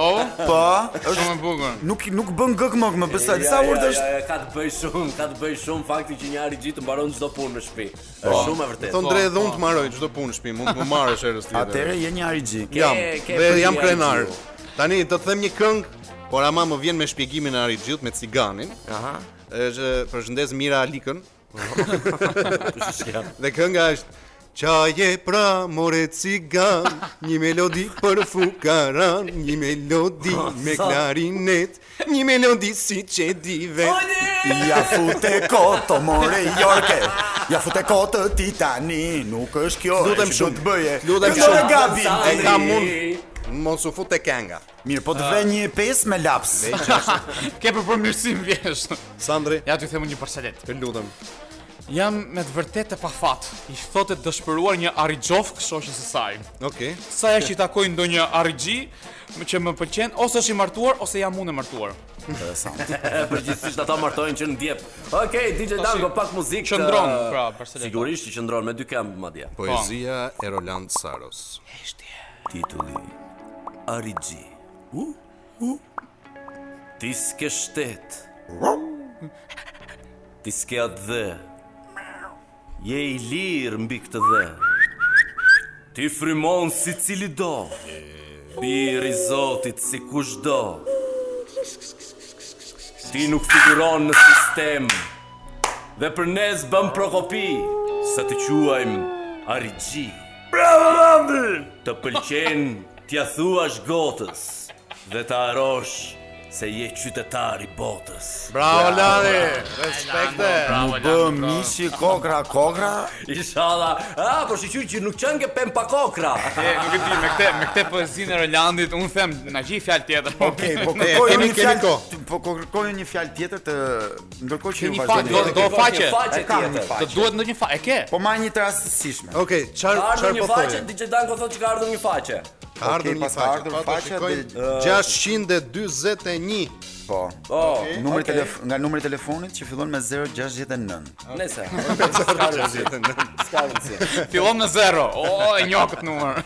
[SPEAKER 4] O,
[SPEAKER 2] Po, është
[SPEAKER 4] shumë e bukur.
[SPEAKER 2] nuk nuk bën gëk më më besoj. Sa urtë është?
[SPEAKER 5] ja, ka të bëj shumë, ka të bëj shumë fakti që një arigji të mbaron çdo punë në shtëpi. Është shumë e vërtetë.
[SPEAKER 6] Thon drejt Po. dhe unë të marroj çdo punë në shtëpi, mund të më marrësh erës tjetër.
[SPEAKER 2] Atëre je një arigji.
[SPEAKER 6] Jam,
[SPEAKER 5] ke
[SPEAKER 6] dhe
[SPEAKER 5] për
[SPEAKER 6] jam
[SPEAKER 5] një
[SPEAKER 6] krenar.
[SPEAKER 5] arigjiu.
[SPEAKER 6] Tani do të them një këngë, por ama më vjen me shpjegimin e Arigjit me ciganin. Aha. Është përshëndes Mira Alikën. dhe kënga është Qaje pra more cigan, një melodi për fukaran, një melodi me klarinet, një melodi si që di vetë.
[SPEAKER 2] Ja fute koto more Jorke. Ja fute kotë ti tani, nuk është kjo.
[SPEAKER 6] Lutem
[SPEAKER 2] është,
[SPEAKER 6] shumë.
[SPEAKER 2] do të bëje.
[SPEAKER 6] Lutem
[SPEAKER 2] Kjo do
[SPEAKER 6] shumë.
[SPEAKER 2] të gabim.
[SPEAKER 5] Sa-
[SPEAKER 6] E kam
[SPEAKER 2] tani.
[SPEAKER 6] unë, mos u fut e kënga.
[SPEAKER 2] Mirë, po të vë një pesë me laps.
[SPEAKER 4] Ke për përmirësim vjesh.
[SPEAKER 6] Sandri,
[SPEAKER 4] Ja t'ju them unë një përselet.
[SPEAKER 6] të lutem.
[SPEAKER 4] Jam me të vërtetë e pa fat. I thotë të dëshpëruar një arigjov shoqës së saj.
[SPEAKER 6] Okej.
[SPEAKER 4] Sa herë që i takoj ndonjë arigji më- që më pëlqen, ose është i martuar ose jam unë e martuar.
[SPEAKER 2] Interesant.
[SPEAKER 5] E, Përgjithsisht ata martojnë që në djep. Okej, DJ
[SPEAKER 4] Po,
[SPEAKER 5] Dango pak muzikë. të-
[SPEAKER 4] Qëndron, pra, për selektor.
[SPEAKER 5] Sigurisht që qëndron me dy këmbë madje.
[SPEAKER 6] Poezia e Roland Saros.
[SPEAKER 5] Titulli Arigji. U? U? Ti s'ke shtet. Ti s'ke atë dhe. Je i lirë mbi këtë dhe. Ti frymon si cili do. Biri i Zotit si kush do. Ti nuk figuron në sistem. Dhe për nes bëm prokopi sa të quajmë Arigji. Të pëlqen t'ja thuash gotës dhe të harosh se je qytetar i botës.
[SPEAKER 6] Bravo Lari, respekte.
[SPEAKER 2] Bë mishi kokra kokra.
[SPEAKER 5] Inshallah. Ah, po shqyr që nuk çan ke pem pa kokra.
[SPEAKER 4] E, nuk e di, me këtë, me këtë poezinë e Rolandit, unë them, na gjej fjalë tjetër.
[SPEAKER 2] Okej, po kërkoj
[SPEAKER 6] kemi-
[SPEAKER 2] një
[SPEAKER 6] kemi
[SPEAKER 2] fjalë.
[SPEAKER 6] kohë.
[SPEAKER 2] Po kërkoj një fjalë tjetër të ndërkohë që ju
[SPEAKER 4] Keni fakt,
[SPEAKER 2] vazhdoni.
[SPEAKER 4] do faqe.
[SPEAKER 5] Faqe
[SPEAKER 2] E kam një
[SPEAKER 5] tjetër.
[SPEAKER 4] Të
[SPEAKER 2] faqe.
[SPEAKER 4] duhet ndonjë fa, e ke?
[SPEAKER 2] Po marr një të rastësishme.
[SPEAKER 6] Okej, çfar
[SPEAKER 5] Ka ardhur
[SPEAKER 6] çfar po
[SPEAKER 5] një faqe,
[SPEAKER 6] thoje?
[SPEAKER 5] DJ Danko thotë që ka ardhur një faqe.
[SPEAKER 6] Ka ardhur një
[SPEAKER 3] pas ka
[SPEAKER 6] faqe.
[SPEAKER 3] ardhur
[SPEAKER 6] Po, ta
[SPEAKER 3] faqja
[SPEAKER 6] shikojmë.
[SPEAKER 3] del, ë,
[SPEAKER 6] 641.
[SPEAKER 2] Po.
[SPEAKER 5] Oh,
[SPEAKER 2] Numri telef nga numri i telefonit që fillon me 069.
[SPEAKER 5] nëse. Ska rëndësi. Ska rëndësi.
[SPEAKER 4] Fillon në zero. O, e njoh këtë numër.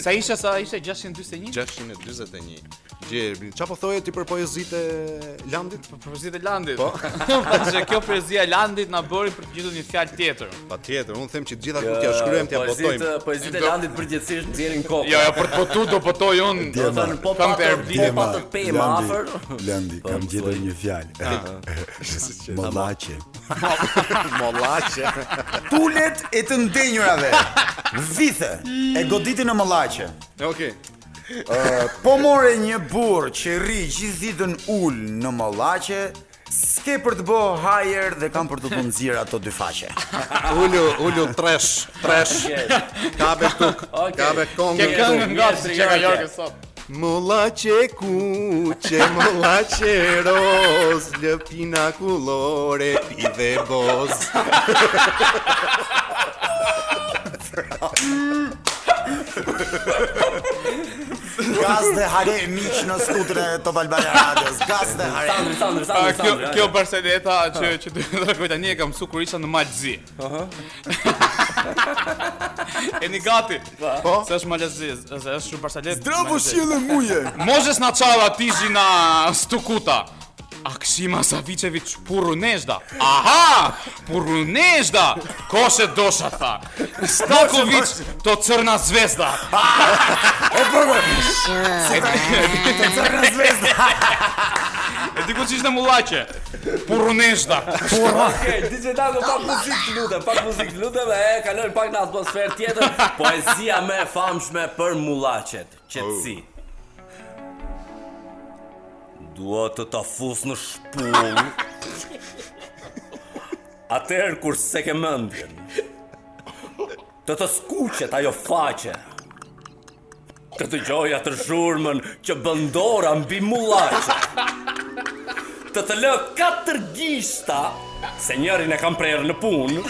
[SPEAKER 4] sa isha sa ishte 641?
[SPEAKER 6] 641. Gjerbi, çfarë po thoje ti për poezitë e Landit?
[SPEAKER 4] Për përzitë e landit. Po. që kjo përzia e landit na bëri për të gjetur një fjalë tjetër.
[SPEAKER 6] Patjetër, unë them që gjitha kur t'ja shkruajm t'ja botojmë.
[SPEAKER 5] Poezitë Po, e landit përgjithsisht nxjerrin kokë.
[SPEAKER 4] Jo, jo, për të potu do potoj unë.
[SPEAKER 5] Do të thënë po
[SPEAKER 4] Kam
[SPEAKER 5] patë
[SPEAKER 4] përbi.
[SPEAKER 5] po patë pemë afër.
[SPEAKER 3] Landi, kam gjetur një fjalë. Mollaçe.
[SPEAKER 2] Tulet e të ndenjurave. Vithe e goditi në mëllaçe.
[SPEAKER 6] Okej.
[SPEAKER 2] Po more një burr që rri gjithë ditën ul në mëllaçe, s'ke për të bëu hajër dhe kam për të të nxjerr ato dy faqe.
[SPEAKER 6] Ulu, ulu tresh, tresh. Kabe tuk,
[SPEAKER 5] Okej.
[SPEAKER 6] kabe
[SPEAKER 4] Ke
[SPEAKER 6] kongë.
[SPEAKER 4] këngë nga
[SPEAKER 5] mirë,
[SPEAKER 4] si që
[SPEAKER 5] tregoj
[SPEAKER 4] ka
[SPEAKER 5] atje.
[SPEAKER 4] Jorge sot.
[SPEAKER 6] Molla që kuqe, molla që roz, lëpina kulore, pi dhe boz.
[SPEAKER 2] Gaz dhe hare miq në skutrën e Top Albania Radios. Gaz dhe hare.
[SPEAKER 5] Sandri, Sandri,
[SPEAKER 4] A,
[SPEAKER 5] Sandri,
[SPEAKER 4] kjo,
[SPEAKER 5] Sandri.
[SPEAKER 4] kjo Barceleta që që do të thotë tani e kam mësuar kur isha në Malzi. E një gati. Po. Se është Malzi, se është shumë Barcelet. Malzi.
[SPEAKER 2] muje.
[SPEAKER 4] Možeš na čala tiži na stukuta. Ak Sima Savičević purunežda. Aha! Purunežda! Ko se došata? Staković to crna zvezda.
[SPEAKER 2] E burr. Të zërë në zvezda.
[SPEAKER 4] E ti ko ćeš na mulače? Purunežda.
[SPEAKER 5] Okej, DJ Tango pak muzikë të lutem, pak muzikë të lutem e kalojmë pak në atmosferë tjetër. Poezia më e famshme për mullaqet, qetësi. Dua të ta fus në shpull. Atëherë kur se ke mendjen. Të të skuqet ajo faqe. Të të gjoja të zhurmën që bëndora mbi mullaqe të të lë katër gishta se njërin e kam prerë në punë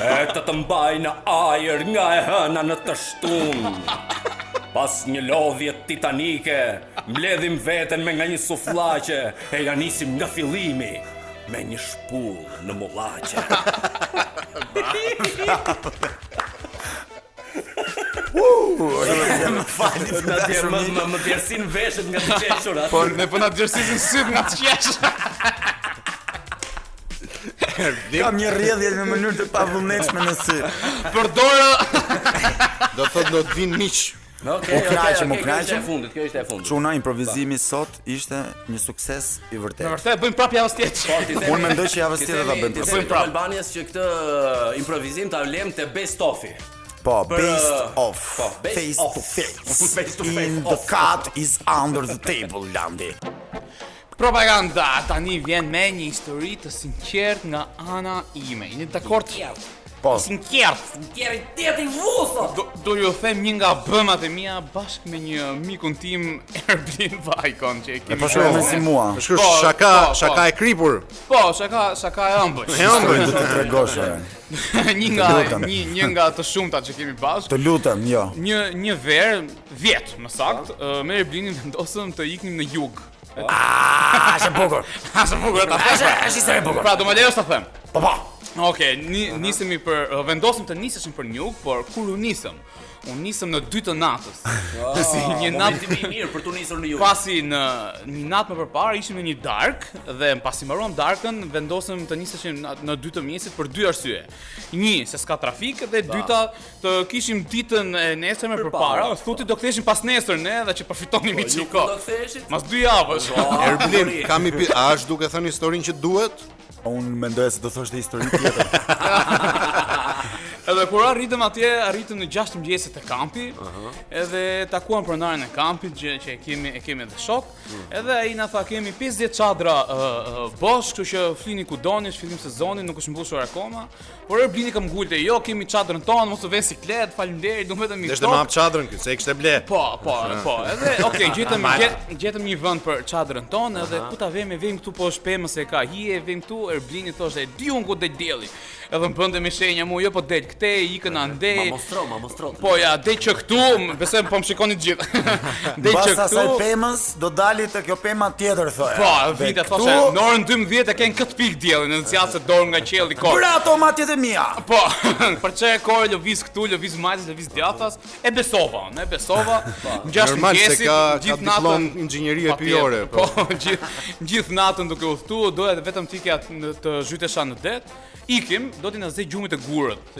[SPEAKER 5] e të të mbaj në ajër nga e hëna në të shtunë. Pas një lodhje titanike, mbledhim veten me nga një sufllaqe e janisim nga fillimi me një shpull në mullaqe. Në djerë më, më, më djerësin veshët nga të qeshura.
[SPEAKER 4] Po ne po na djersisin syt nga qesh.
[SPEAKER 2] Kam një rrjedhje në mënyrë të pavullnetshme në sy.
[SPEAKER 4] Përdora
[SPEAKER 6] Do thot do të vinë miq.
[SPEAKER 5] Okej,
[SPEAKER 2] U knaqem, u
[SPEAKER 5] kjo është e
[SPEAKER 2] knaqem.
[SPEAKER 5] fundit, kjo është e fundit.
[SPEAKER 2] Çuna improvizimi sot ishte një sukses i vërtetë.
[SPEAKER 4] Vërtet bëjmë prapë javës tjetër.
[SPEAKER 2] Unë mendoj që javës tjetër ta bëjmë
[SPEAKER 5] Po, Ti
[SPEAKER 2] prapë.
[SPEAKER 5] themi të Albanjes që këtë uh, improvizim ta lëm te Best Offi.
[SPEAKER 2] Po,
[SPEAKER 5] Për,
[SPEAKER 2] based
[SPEAKER 5] uh,
[SPEAKER 2] off.
[SPEAKER 5] po, based
[SPEAKER 2] face
[SPEAKER 5] off.
[SPEAKER 2] to face.
[SPEAKER 5] Face to face,
[SPEAKER 2] In the
[SPEAKER 5] off.
[SPEAKER 2] cut is under the table, Landi.
[SPEAKER 4] Propaganda tani vjen me një histori të sinqert nga ana ime. Jeni dakord?
[SPEAKER 2] Po,
[SPEAKER 4] Sinqert.
[SPEAKER 5] Kjeri tjeti vuso.
[SPEAKER 4] Do, do ju them një nga bëmat e mia bashkë me një mikun tim Erbin Vajkon që e kemi.
[SPEAKER 2] po
[SPEAKER 5] Jo.
[SPEAKER 2] shkruaj me si mua.
[SPEAKER 6] Më shkush
[SPEAKER 4] Po,
[SPEAKER 6] shaka,
[SPEAKER 4] po, po.
[SPEAKER 6] shaka e kripur.
[SPEAKER 4] Po, shaka, shaka e ëmbël.
[SPEAKER 6] E
[SPEAKER 2] Do
[SPEAKER 6] ëmbël.
[SPEAKER 2] të tregosh. e.
[SPEAKER 4] një nga
[SPEAKER 2] Të lutem.
[SPEAKER 4] një një nga të shumtat që kemi bashkë.
[SPEAKER 2] Të lutem, jo.
[SPEAKER 4] Një një verë vjet, më
[SPEAKER 2] Po.
[SPEAKER 4] saktë, ë, me Erbinin vendosëm të iknim në jug.
[SPEAKER 2] Ah, është e bukur.
[SPEAKER 4] Asë bukur ta
[SPEAKER 2] Është
[SPEAKER 4] them.
[SPEAKER 2] është histori e bukur.
[SPEAKER 4] Pra, do më lejosh ta them.
[SPEAKER 2] Po, po.
[SPEAKER 4] Okej, ni, nisemi për uh, vendosëm të niseshim për Njug, por kur u nisëm? U nisëm në 2 të natës. si një
[SPEAKER 5] Momenti
[SPEAKER 4] natë
[SPEAKER 5] më i mirë për tu nisur në ju.
[SPEAKER 4] pasi në një natë më përpara ishim në një dark dhe pasi mbaruam darkën vendosëm të niseshim na- në 2 të mjesit për dy arsye. Një, se s'ka trafik dhe dyta të kishim ditën e nesërme përpara,
[SPEAKER 5] Përpara.
[SPEAKER 4] thuti do ktheheshim pas nesër ne dhe që përfitonim i
[SPEAKER 5] Nuk
[SPEAKER 4] çiko.
[SPEAKER 5] do ktheheshit. Po,
[SPEAKER 4] Mas dy javësh.
[SPEAKER 6] Erblim, kam i pi... A është duke thënë historinë që duhet?
[SPEAKER 2] Unë mendoj se do thoshte histori tjetër.
[SPEAKER 4] Edhe kur arritëm atje, arritëm në 6 mëngjesit të kampi. Edhe takuam pronarin e kampit që që e kemi e kemi edhe shok. Edhe ai na tha kemi 50 çadra uh, uh, bosh, kështu që flini ku doni, është fillim sezoni, nuk është mbushur akoma. Por e blini kam ngulte, jo kemi çadrën tonë, mos u vë siklet, faleminderit, do vetëm i
[SPEAKER 6] Deshte më hap çadrën këtu, se e kishte ble.
[SPEAKER 4] Po, po, po. Edhe, okay, gjetëm gjet- gjetëm një vend për çadrën tonë, edhe ku ta vëmë, vëmë këtu po shpemë se ka hije, vëmë këtu Erblini thoshte, "Di un ku del dielli." Edhe më bënte me shenja mua, jo po del këtej, këtej, ikën andej.
[SPEAKER 5] Ma mostro, ma mostro. të
[SPEAKER 4] Po ja, dej që këtu, më- besoj po më shikoni të gjithë. Dej që
[SPEAKER 2] Mbas asaj
[SPEAKER 4] këtu.
[SPEAKER 2] pemës do dali te kjo pema tjetër thoya.
[SPEAKER 4] Po, vite thoshe, në orën 12 e ken këtë pikë diellin, në zjat se dorë nga qielli kokë.
[SPEAKER 2] Për ato matjet e mia.
[SPEAKER 4] Po, për çfarë kohë lëviz këtu, lëviz majtës, lëviz djathtas, e besova, unë e besova. Ngjash
[SPEAKER 6] Po. Normal se
[SPEAKER 4] mëngjesit,
[SPEAKER 6] ka ka
[SPEAKER 4] gjithë
[SPEAKER 6] diplom
[SPEAKER 4] natën.
[SPEAKER 6] inxhinierie
[SPEAKER 4] Patjetër,
[SPEAKER 6] pyjore.
[SPEAKER 4] Po, gjithë gjithë natën duke u thtu, doja të vetëm ti kja të- të zhytesha në det. Ikim, do t'i na zej gjumit e gurët.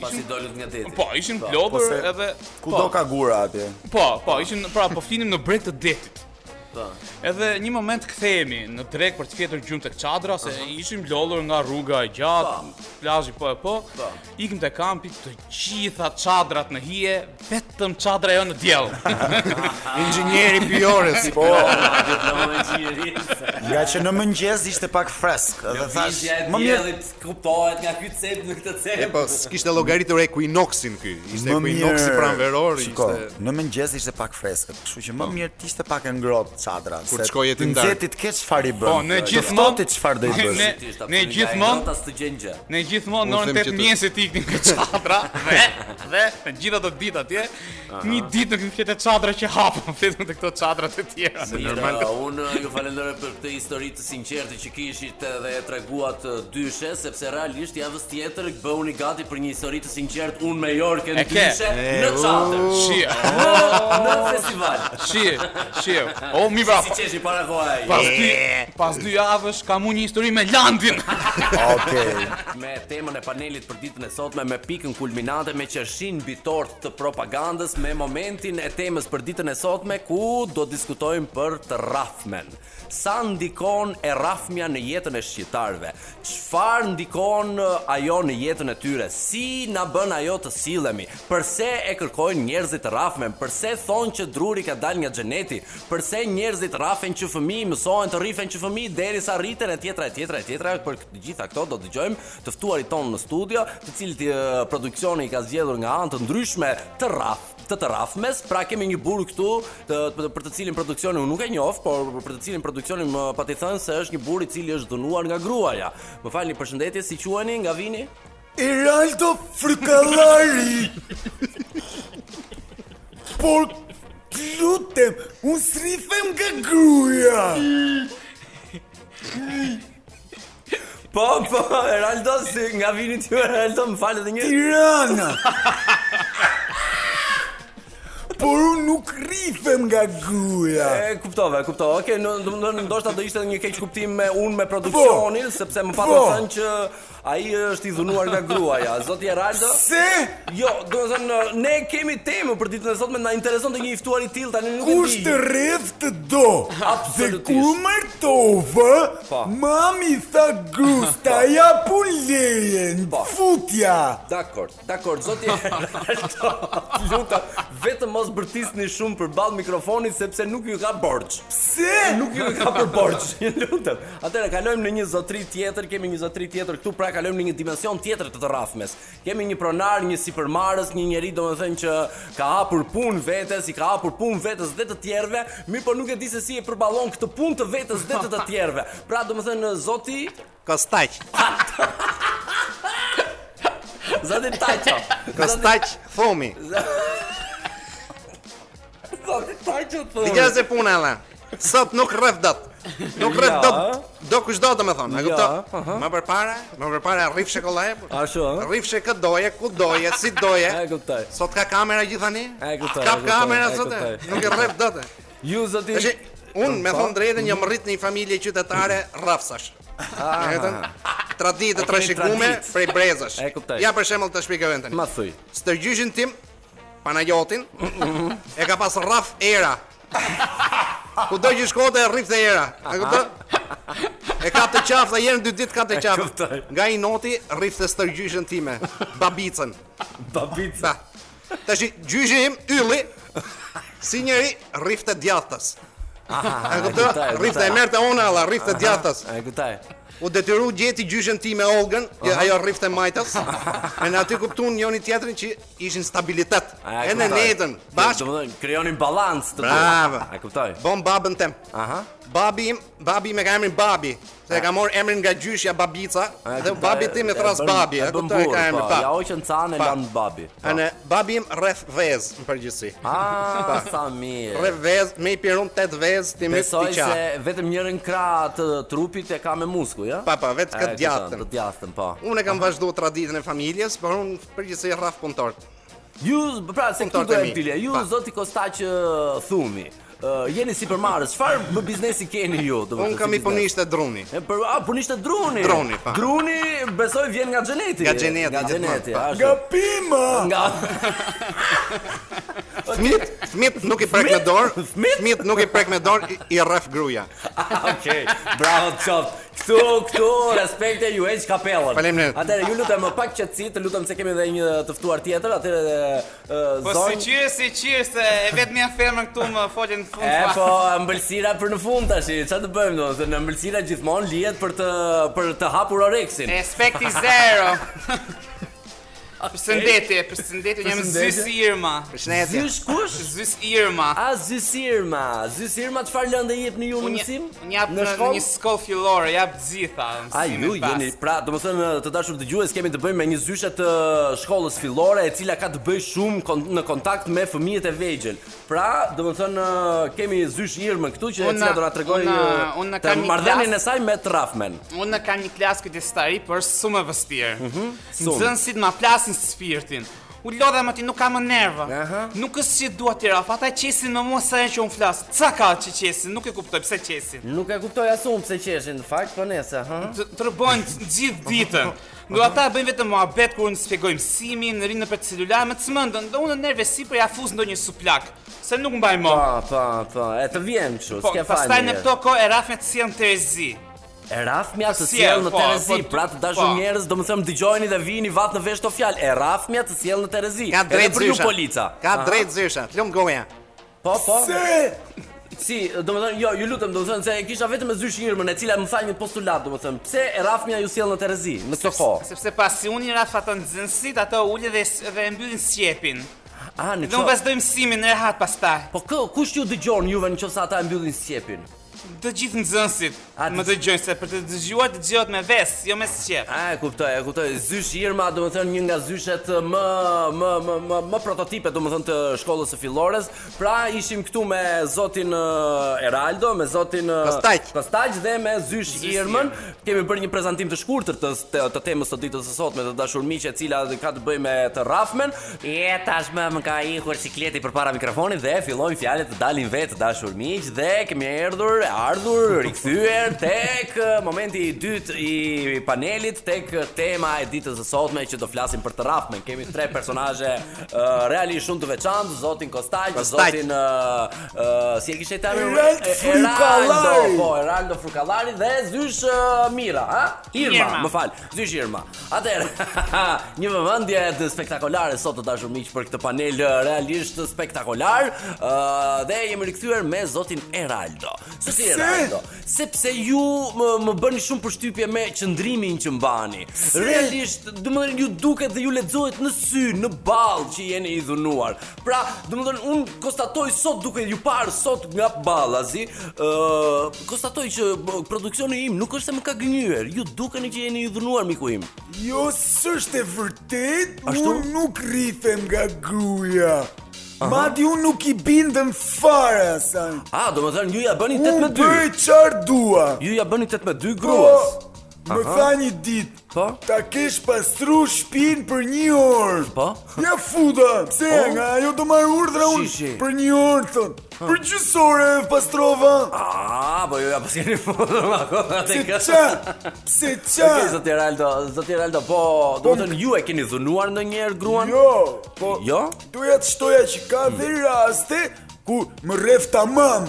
[SPEAKER 5] Pasi dolët nga deti.
[SPEAKER 4] Po, ishin
[SPEAKER 2] po
[SPEAKER 4] plodhur
[SPEAKER 2] se-
[SPEAKER 4] edhe
[SPEAKER 2] Kudo
[SPEAKER 4] po,
[SPEAKER 2] ka gura atje.
[SPEAKER 4] Po, po, ishin pra po flinim në breg të detit.
[SPEAKER 5] Po.
[SPEAKER 4] Edhe një moment kthehemi në drek për të fjetur gjumë tek çadra se ishim lodhur nga rruga e gjatë, plazhi po e po.
[SPEAKER 5] Po.
[SPEAKER 4] Ikim te kampi të gjitha çadrat në hije, vetëm çadra jo në diell.
[SPEAKER 2] Inxhinieri pyores. Po,
[SPEAKER 5] Po,
[SPEAKER 2] nga që në mëngjes ishte pak fresk. Dhe thash,
[SPEAKER 5] Vizja e
[SPEAKER 2] më mirë
[SPEAKER 5] djelit kuptohet nga ky cep në këtë cep.
[SPEAKER 6] E po, s'kishte llogaritur Equinoxin ky. Ishte
[SPEAKER 2] Më
[SPEAKER 6] Equinoxi
[SPEAKER 2] mirë-
[SPEAKER 6] pranveror,
[SPEAKER 2] Shiko,
[SPEAKER 6] ishte
[SPEAKER 2] në mëngjes ishte pak freskët, kështu që më mirë të ishte pak e ngrohtë çadra.
[SPEAKER 6] Kur
[SPEAKER 2] se
[SPEAKER 6] të shkoj jetë
[SPEAKER 2] të
[SPEAKER 6] ndar.
[SPEAKER 2] nxehtit ke çfarë i bën.
[SPEAKER 4] Po, ne
[SPEAKER 2] të
[SPEAKER 4] gjithmonë-
[SPEAKER 2] ftohtit çfarë do i
[SPEAKER 4] Ne-
[SPEAKER 2] bësh.
[SPEAKER 5] Ti është
[SPEAKER 4] ne
[SPEAKER 5] apo
[SPEAKER 4] gjithmonë-
[SPEAKER 5] nga i grotas të gjen gjë.
[SPEAKER 4] Ne gjithmonë
[SPEAKER 6] Unë
[SPEAKER 4] në orën
[SPEAKER 6] them
[SPEAKER 4] 8
[SPEAKER 6] që të-
[SPEAKER 4] mëngjesit iknim nga çadra dhe dhe të gjitha të ditë atje, një ditë nuk fjetë çadra që hapën, fletëm te këto çadrat e tjera.
[SPEAKER 5] Mirë, unë ju falenderoj për këtë histori të sinqertë që kishit dhe e treguat uh, dyshe, sepse realisht javës tjetër bëhuni gati për një histori të sinqertë unë me Jorken
[SPEAKER 4] E ke.
[SPEAKER 5] dyshe në çadër.
[SPEAKER 4] Shi,
[SPEAKER 5] Në- Në festival.
[SPEAKER 4] shi, shi. O mi bra,
[SPEAKER 5] Si qeshi para kohaj
[SPEAKER 4] Pas dy, pas dy javësh kam unë një histori me Landin.
[SPEAKER 2] Okej.
[SPEAKER 5] me temën e panelit për ditën e sotme me pikën kulminante me qershin bitor të propagandës me momentin e temës për ditën e sotme ku do diskutojmë për të rafmen. Sa ndikon e rafmja në jetën e shqiptarëve? Çfarë ndikon e, ajo në jetën e tyre? Si na bën ajo të sillemi? Përse e kërkojnë njerëzit të rafmen? Përse thonë që druri ka dalë nga xheneti? Përse njerëzit rafen që fëmijë mësohen të rifen që fëmijë derisa rriten e tjetra e tjetra e tjetra për të gjitha këto do dëgjojmë të ftuarit tonë në studio, të cilët e, produksioni i ka zgjedhur nga anë të ndryshme të raf të të rafmes, pra kemi një burr këtu të, të, për të cilin produksioni unë nuk e njoh, por për të cilin produksioni më pati thënë se është një burr i cili është dënuar nga gruaja. Më falni përshëndetje, si quheni nga vini?
[SPEAKER 2] Iraldo Frikallari Por lutem, unë srifem nga gruja
[SPEAKER 5] Po, po, Eraldo, si nga vini ti Eraldo, më falë edhe një.
[SPEAKER 2] Tirana Por unë nuk rrifem nga gruja
[SPEAKER 5] E kuptova, kuptova. Okej, okay, do të thonë ndoshta do ishte një keq kuptim me unë me produksionin, sepse më patën
[SPEAKER 2] Po.
[SPEAKER 5] thënë që ai është i dhunuar nga gruaja. Zoti Eraldo.
[SPEAKER 2] Se?
[SPEAKER 5] Jo, do të thënë ne kemi temë për ditën e sotme, na intereson të një i ftuar i tillë tani nuk e
[SPEAKER 2] Kush
[SPEAKER 5] di.
[SPEAKER 2] të rreth të do Dhe
[SPEAKER 5] Absolutisht.
[SPEAKER 2] kur mërtove
[SPEAKER 5] Po.
[SPEAKER 2] Mami tha grus Ta japun lejen
[SPEAKER 5] Po.
[SPEAKER 2] Futja
[SPEAKER 5] Dakor, dakor, zoti Eraldo. Luta, vetëm mos bërtisni shumë përballë mikrofonit sepse nuk ju ka borxh.
[SPEAKER 2] Se?
[SPEAKER 5] Nuk ju ka për borxh, ju lutem. Atëherë kalojmë në një zotëri tjetër, kemi një zotëri tjetër këtu, pra kalojmë në një dimension tjetër të të rrafmes. Kemi një pronar, një sipërmarrës, një njerëz domethënë që ka hapur punë vetes, i ka hapur punë vetes dhe të tjerëve, mirë po nuk e di se si e përballon këtë punë të vetes dhe të të tjerëve. Pra domethënë zoti
[SPEAKER 6] Kostaq,
[SPEAKER 5] Zoti Taço.
[SPEAKER 6] Kostaq Thomi.
[SPEAKER 5] Zoti Taço.
[SPEAKER 6] Dija se puna alla. Sot nuk rrëf dot. Nuk rrëf
[SPEAKER 5] Ja.
[SPEAKER 6] dot. Do kush do të më thonë,
[SPEAKER 5] Ja,
[SPEAKER 6] e kupton?
[SPEAKER 5] aha.
[SPEAKER 6] Më përpara, më përpara rrif shekollaj.
[SPEAKER 5] Ashtu, ëh?
[SPEAKER 6] Rrif shekë doje, ku doje, si doje.
[SPEAKER 5] E kuptoj.
[SPEAKER 6] Sot ka kamera gjithani? Ah,
[SPEAKER 5] E kuptoj, e
[SPEAKER 6] Ka
[SPEAKER 5] kuptoj,
[SPEAKER 6] kamera
[SPEAKER 5] e
[SPEAKER 6] sot. e?
[SPEAKER 5] kuptoj.
[SPEAKER 6] Nuk e rrëf dot. e.
[SPEAKER 5] Ju zoti.
[SPEAKER 6] Tash un me thon drejtën jam rrit në një familje qytetare rrafsash. E kupton? Traditë
[SPEAKER 5] E keni
[SPEAKER 6] të trashëgume
[SPEAKER 5] Ah. traditë.
[SPEAKER 6] prej brezash.
[SPEAKER 5] E kuptoj.
[SPEAKER 6] Ja për shembull të shpjegoj tani.
[SPEAKER 5] Ma thuj.
[SPEAKER 6] Stërgjyshin tim Panajotin e ka pas rraf era. Kudo që shkonte e rrifte era. E kupton? E ka të qafë, dhe jenë dy ditë ka të qafë.
[SPEAKER 5] kuptoj.
[SPEAKER 6] Nga i noti, rrifte stërgjyshin time, babicën.
[SPEAKER 5] Babit.
[SPEAKER 6] Ta. Tash gjyshi im ylli si njëri rrifte djathtas.
[SPEAKER 5] Aha,
[SPEAKER 6] E kupton? Rrifte e merrte ona alla, rrifte djathtas.
[SPEAKER 5] E kuptoj.
[SPEAKER 6] U detyru gjeti gjyshen ti me Olgën, ajo rrifte majtas. e në aty kuptuan njëri tjetrin që ishin stabilitet.
[SPEAKER 5] A,
[SPEAKER 6] E në
[SPEAKER 5] kuptoj.
[SPEAKER 6] netën, bashkë.
[SPEAKER 5] Domethënë krijonin balans të dy.
[SPEAKER 6] Bravo.
[SPEAKER 5] A kuptoj?
[SPEAKER 6] Bon babën tem.
[SPEAKER 5] Aha.
[SPEAKER 6] Babi im, babi me ka emrin Babi. Se e ka morë emrin nga gjyshja Babica,
[SPEAKER 5] A,
[SPEAKER 6] dhe
[SPEAKER 5] kuptoj,
[SPEAKER 6] babi tim e thras
[SPEAKER 5] bën-
[SPEAKER 6] Babi,
[SPEAKER 5] e
[SPEAKER 6] e
[SPEAKER 5] bën
[SPEAKER 6] kuptoj
[SPEAKER 5] burr,
[SPEAKER 6] ka emrin
[SPEAKER 5] po,
[SPEAKER 6] pa.
[SPEAKER 5] Ja hoqën canë e
[SPEAKER 6] Pa.
[SPEAKER 5] lan babi.
[SPEAKER 6] A në babi im rreth vez në përgjithësi.
[SPEAKER 5] Ah, sa mirë.
[SPEAKER 6] Rreth vez, me i pirun 8 vez, ti më
[SPEAKER 5] Besoj
[SPEAKER 6] ti qa.
[SPEAKER 5] se vetëm njërin krah të trupit e ka me muskuj, ja?
[SPEAKER 6] Pa, pa, vetë këtë djatën.
[SPEAKER 5] Të djatën, po.
[SPEAKER 6] Unë e kam vazhdu traditën e familjes, por unë përgjithësi rraf punëtor.
[SPEAKER 5] Ju, pra se këtu
[SPEAKER 6] Punëtor
[SPEAKER 5] do
[SPEAKER 6] të
[SPEAKER 5] e
[SPEAKER 6] mi.
[SPEAKER 5] dilja. Ju
[SPEAKER 6] Pa.
[SPEAKER 5] zoti Kostaq ë, Thumi. ë, jeni si përmarës, çfarë bë- biznesi keni ju? domethënë,
[SPEAKER 6] Unë
[SPEAKER 5] si
[SPEAKER 6] kam i
[SPEAKER 5] biznes?
[SPEAKER 6] punishtë e druni.
[SPEAKER 5] E për a punishte druni.
[SPEAKER 6] Druni, pa.
[SPEAKER 5] Druni besoj vjen nga xheneti.
[SPEAKER 6] Nga xheneti,
[SPEAKER 5] nga
[SPEAKER 6] gjithmonë,
[SPEAKER 5] xheneti,
[SPEAKER 6] pa.
[SPEAKER 5] ashtu.
[SPEAKER 2] pima!
[SPEAKER 5] Nga
[SPEAKER 6] Fmit, fmit nuk i prek me dorë,
[SPEAKER 5] Fmit?
[SPEAKER 6] fmit nuk i prek me dorë, i- i rraf gruja.
[SPEAKER 5] Okej, bravo çoft. Këtu, këtu, respekte ju heq kapellën.
[SPEAKER 6] Faleminderit.
[SPEAKER 5] Atëherë ju lutem më pak qetësi, të lutem se kemi edhe një të ftuar tjetër, atëherë
[SPEAKER 4] Po
[SPEAKER 5] uh,
[SPEAKER 4] si
[SPEAKER 5] zonjë.
[SPEAKER 4] qirë, si qirë, se e vetë mja femër këtu më folin në fund
[SPEAKER 5] E
[SPEAKER 4] fare.
[SPEAKER 5] po ëmbëlsira për në fund tash, çfarë të bëjmë domethënë ëmbëlsira gjithmonë lihet për të për të hapur oreksin.
[SPEAKER 4] Respekti zero. Përshëndetje, përshëndetje, jam
[SPEAKER 5] Përshëndetje.
[SPEAKER 4] Zys Irma.
[SPEAKER 6] Shnetje.
[SPEAKER 5] Zysh kush?
[SPEAKER 4] Zys Irma.
[SPEAKER 5] A zysirma, zysirma çfarë lëndë jepni ju në mësim?
[SPEAKER 4] Unë jap në, në një skollë fillore, jap të gjitha.
[SPEAKER 5] A
[SPEAKER 4] mësimin
[SPEAKER 5] ju
[SPEAKER 4] pas.
[SPEAKER 5] jeni pra, domethënë të dashur dëgjues, kemi të bëjmë me një zyshe të shkollës fillore e cila ka të bëjë shumë kon në kontakt me fëmijët e vegjël. Pra, domethënë kemi zysh Irmën këtu që e
[SPEAKER 4] Unë-
[SPEAKER 5] cila do na tregoj
[SPEAKER 4] unë- unë
[SPEAKER 5] të
[SPEAKER 4] kam një
[SPEAKER 5] marrëdhënien e
[SPEAKER 4] klas-
[SPEAKER 5] saj me Trafmen.
[SPEAKER 4] Unë kam një klasë këtë stari, por është shumë e vështirë.
[SPEAKER 5] Mhm, shumë.
[SPEAKER 4] Nxënësit ma flasin spirtin. U lodha më ti nuk kam më nerva.
[SPEAKER 5] Aha.
[SPEAKER 4] Nuk është si dua ti raf, ata qesin më mua sa herë që un flas. Ca ka që qesin, nuk e kuptoj pse qesin.
[SPEAKER 5] Nuk e kuptoj asun pse qeshin në fakt, po nese, ha.
[SPEAKER 4] Të tërbojnë gjithë ditën. Do ata bëjnë vetëm muhabet kur unë shpjegoj mësimin, rinë nëpër celular, më cmendën, do unë nerve si për ja fus ndonjë suplak, se nuk mbaj më.
[SPEAKER 5] Pa, pa, pa, e të vjen
[SPEAKER 4] Po,
[SPEAKER 5] kështu, Po, s'ke fal.
[SPEAKER 4] pastaj në këto kohë e rafme të sjellën Terezi.
[SPEAKER 5] E rafmja të
[SPEAKER 4] Sjell,
[SPEAKER 5] sjell në
[SPEAKER 4] po,
[SPEAKER 5] Terezi,
[SPEAKER 4] po,
[SPEAKER 5] pra të dashur
[SPEAKER 4] po.
[SPEAKER 5] njerëz, domethënë dëgjojeni dhe vini vat në vesh to fjalë. E rafmja të sjell në Terezi.
[SPEAKER 6] Ka
[SPEAKER 5] Edhe
[SPEAKER 6] drejt
[SPEAKER 5] për ju
[SPEAKER 6] zysha.
[SPEAKER 5] polica.
[SPEAKER 6] Ka
[SPEAKER 5] Aha.
[SPEAKER 6] drejt zysha. Lum goja.
[SPEAKER 5] Po, po. Si, domethënë, jo, ju lutem, domethënë se e kisha vetëm me zysh Irmën, e cila më tha një postulat, domethënë, pse e rafmja ju sjell në Terezi në këtë kohë?
[SPEAKER 4] Sepse pasi unë i raf ato nxënësit, ato ulën dhe dhe e mbyllin sqepin.
[SPEAKER 5] Ah, në
[SPEAKER 4] Dhe unë
[SPEAKER 5] këtë.
[SPEAKER 4] vazhdoj mësimin në rehat pastaj.
[SPEAKER 5] Po kë, kush ju dëgjon juve nëse ata e mbyllin sqepin?
[SPEAKER 4] Të gjithë nxënësit
[SPEAKER 5] A,
[SPEAKER 4] më
[SPEAKER 5] të-
[SPEAKER 4] dëgjojnë se për të dëgjuar dëgjohet me ves, jo me sqep.
[SPEAKER 5] A, e kuptoj, e kuptoj. Zysh Irma, domethënë një nga zyshet më më më më, më prototipe, domethënë të shkollës së fillores. Pra ishim këtu me zotin ë, Eraldo, me zotin ë,
[SPEAKER 6] Kostaq.
[SPEAKER 5] Kostaq dhe me Zysh,
[SPEAKER 4] Zysh
[SPEAKER 5] Irmën. Kemi bërë një prezantim të shkurtër të të, të temës së ditës së sotme të dashur miq e cila ka të bëjë me të rafmen. Je tashmë më ka ikur sikleti përpara mikrofonit dhe fillojnë fjalët të dalin vetë dashur miq dhe kemi erdhur, ardhur, rikthyer tek ë, momenti i dytë i panelit tek tema e ditës së sotme që do flasim për të rafmen. Kemi tre personazhe uh, realisht shumë të veçantë, zotin Kostaq,
[SPEAKER 6] Kostaq.
[SPEAKER 5] zotin ë ë, si e kishte tani
[SPEAKER 2] Erald Frukallari.
[SPEAKER 5] po, Eraldo Frukallari dhe Zysh ë, Mira, ha? Irma,
[SPEAKER 4] Irma.
[SPEAKER 5] më fal, Zysh Irma. Atëherë, një vëmendje të spektakolare sot të dashur miq për këtë panel ë, realisht spektakolar, ë, dhe jemi rikthyer me zotin Eraldo. Se si Eraldo, Po, sepse ju më, më bëni shumë përshtypje me qëndrimin që mbani. Realisht, domethënë ju duket dhe ju lexohet në sy, në ballë që jeni i dhunuar. Pra, domethënë un konstatoj sot duke ju parë sot nga ballazi, ë konstatoj që bë, produksioni im nuk është se më ka gënjur. Ju dukeni që jeni i dhunuar miku im.
[SPEAKER 2] Jo, s'është e vërtet,
[SPEAKER 5] Ashtu?
[SPEAKER 2] unë nuk rrifem nga gruja. Madje unë nuk i bindem fare asaj.
[SPEAKER 5] A, domethënë ju ja bëni
[SPEAKER 2] Unë
[SPEAKER 5] 18-2.
[SPEAKER 2] bëj çfarë dua.
[SPEAKER 5] Ju ja bëni 18-2 gruas.
[SPEAKER 2] më tha një ditë,
[SPEAKER 5] Po?
[SPEAKER 2] ta kesh pastru shpinë për një orë.
[SPEAKER 5] Po?
[SPEAKER 2] Ja futa, pse
[SPEAKER 5] Po?
[SPEAKER 2] nga ajo do marr urdhra
[SPEAKER 5] Shishi.
[SPEAKER 2] unë për një orë thon. Për gjysore e pastrova.
[SPEAKER 5] A, po ju ja paskeni foto ma kona
[SPEAKER 2] Pse
[SPEAKER 5] të
[SPEAKER 2] qa? Pse qa?
[SPEAKER 5] Okej, zoti Raldo, zoti Raldo, po, do të thënë ju e keni dhunuar ndonjëherë gruan?
[SPEAKER 2] Jo, po
[SPEAKER 5] Jo?
[SPEAKER 2] doja të shtoja që ka dhe raste ku më rref tamam.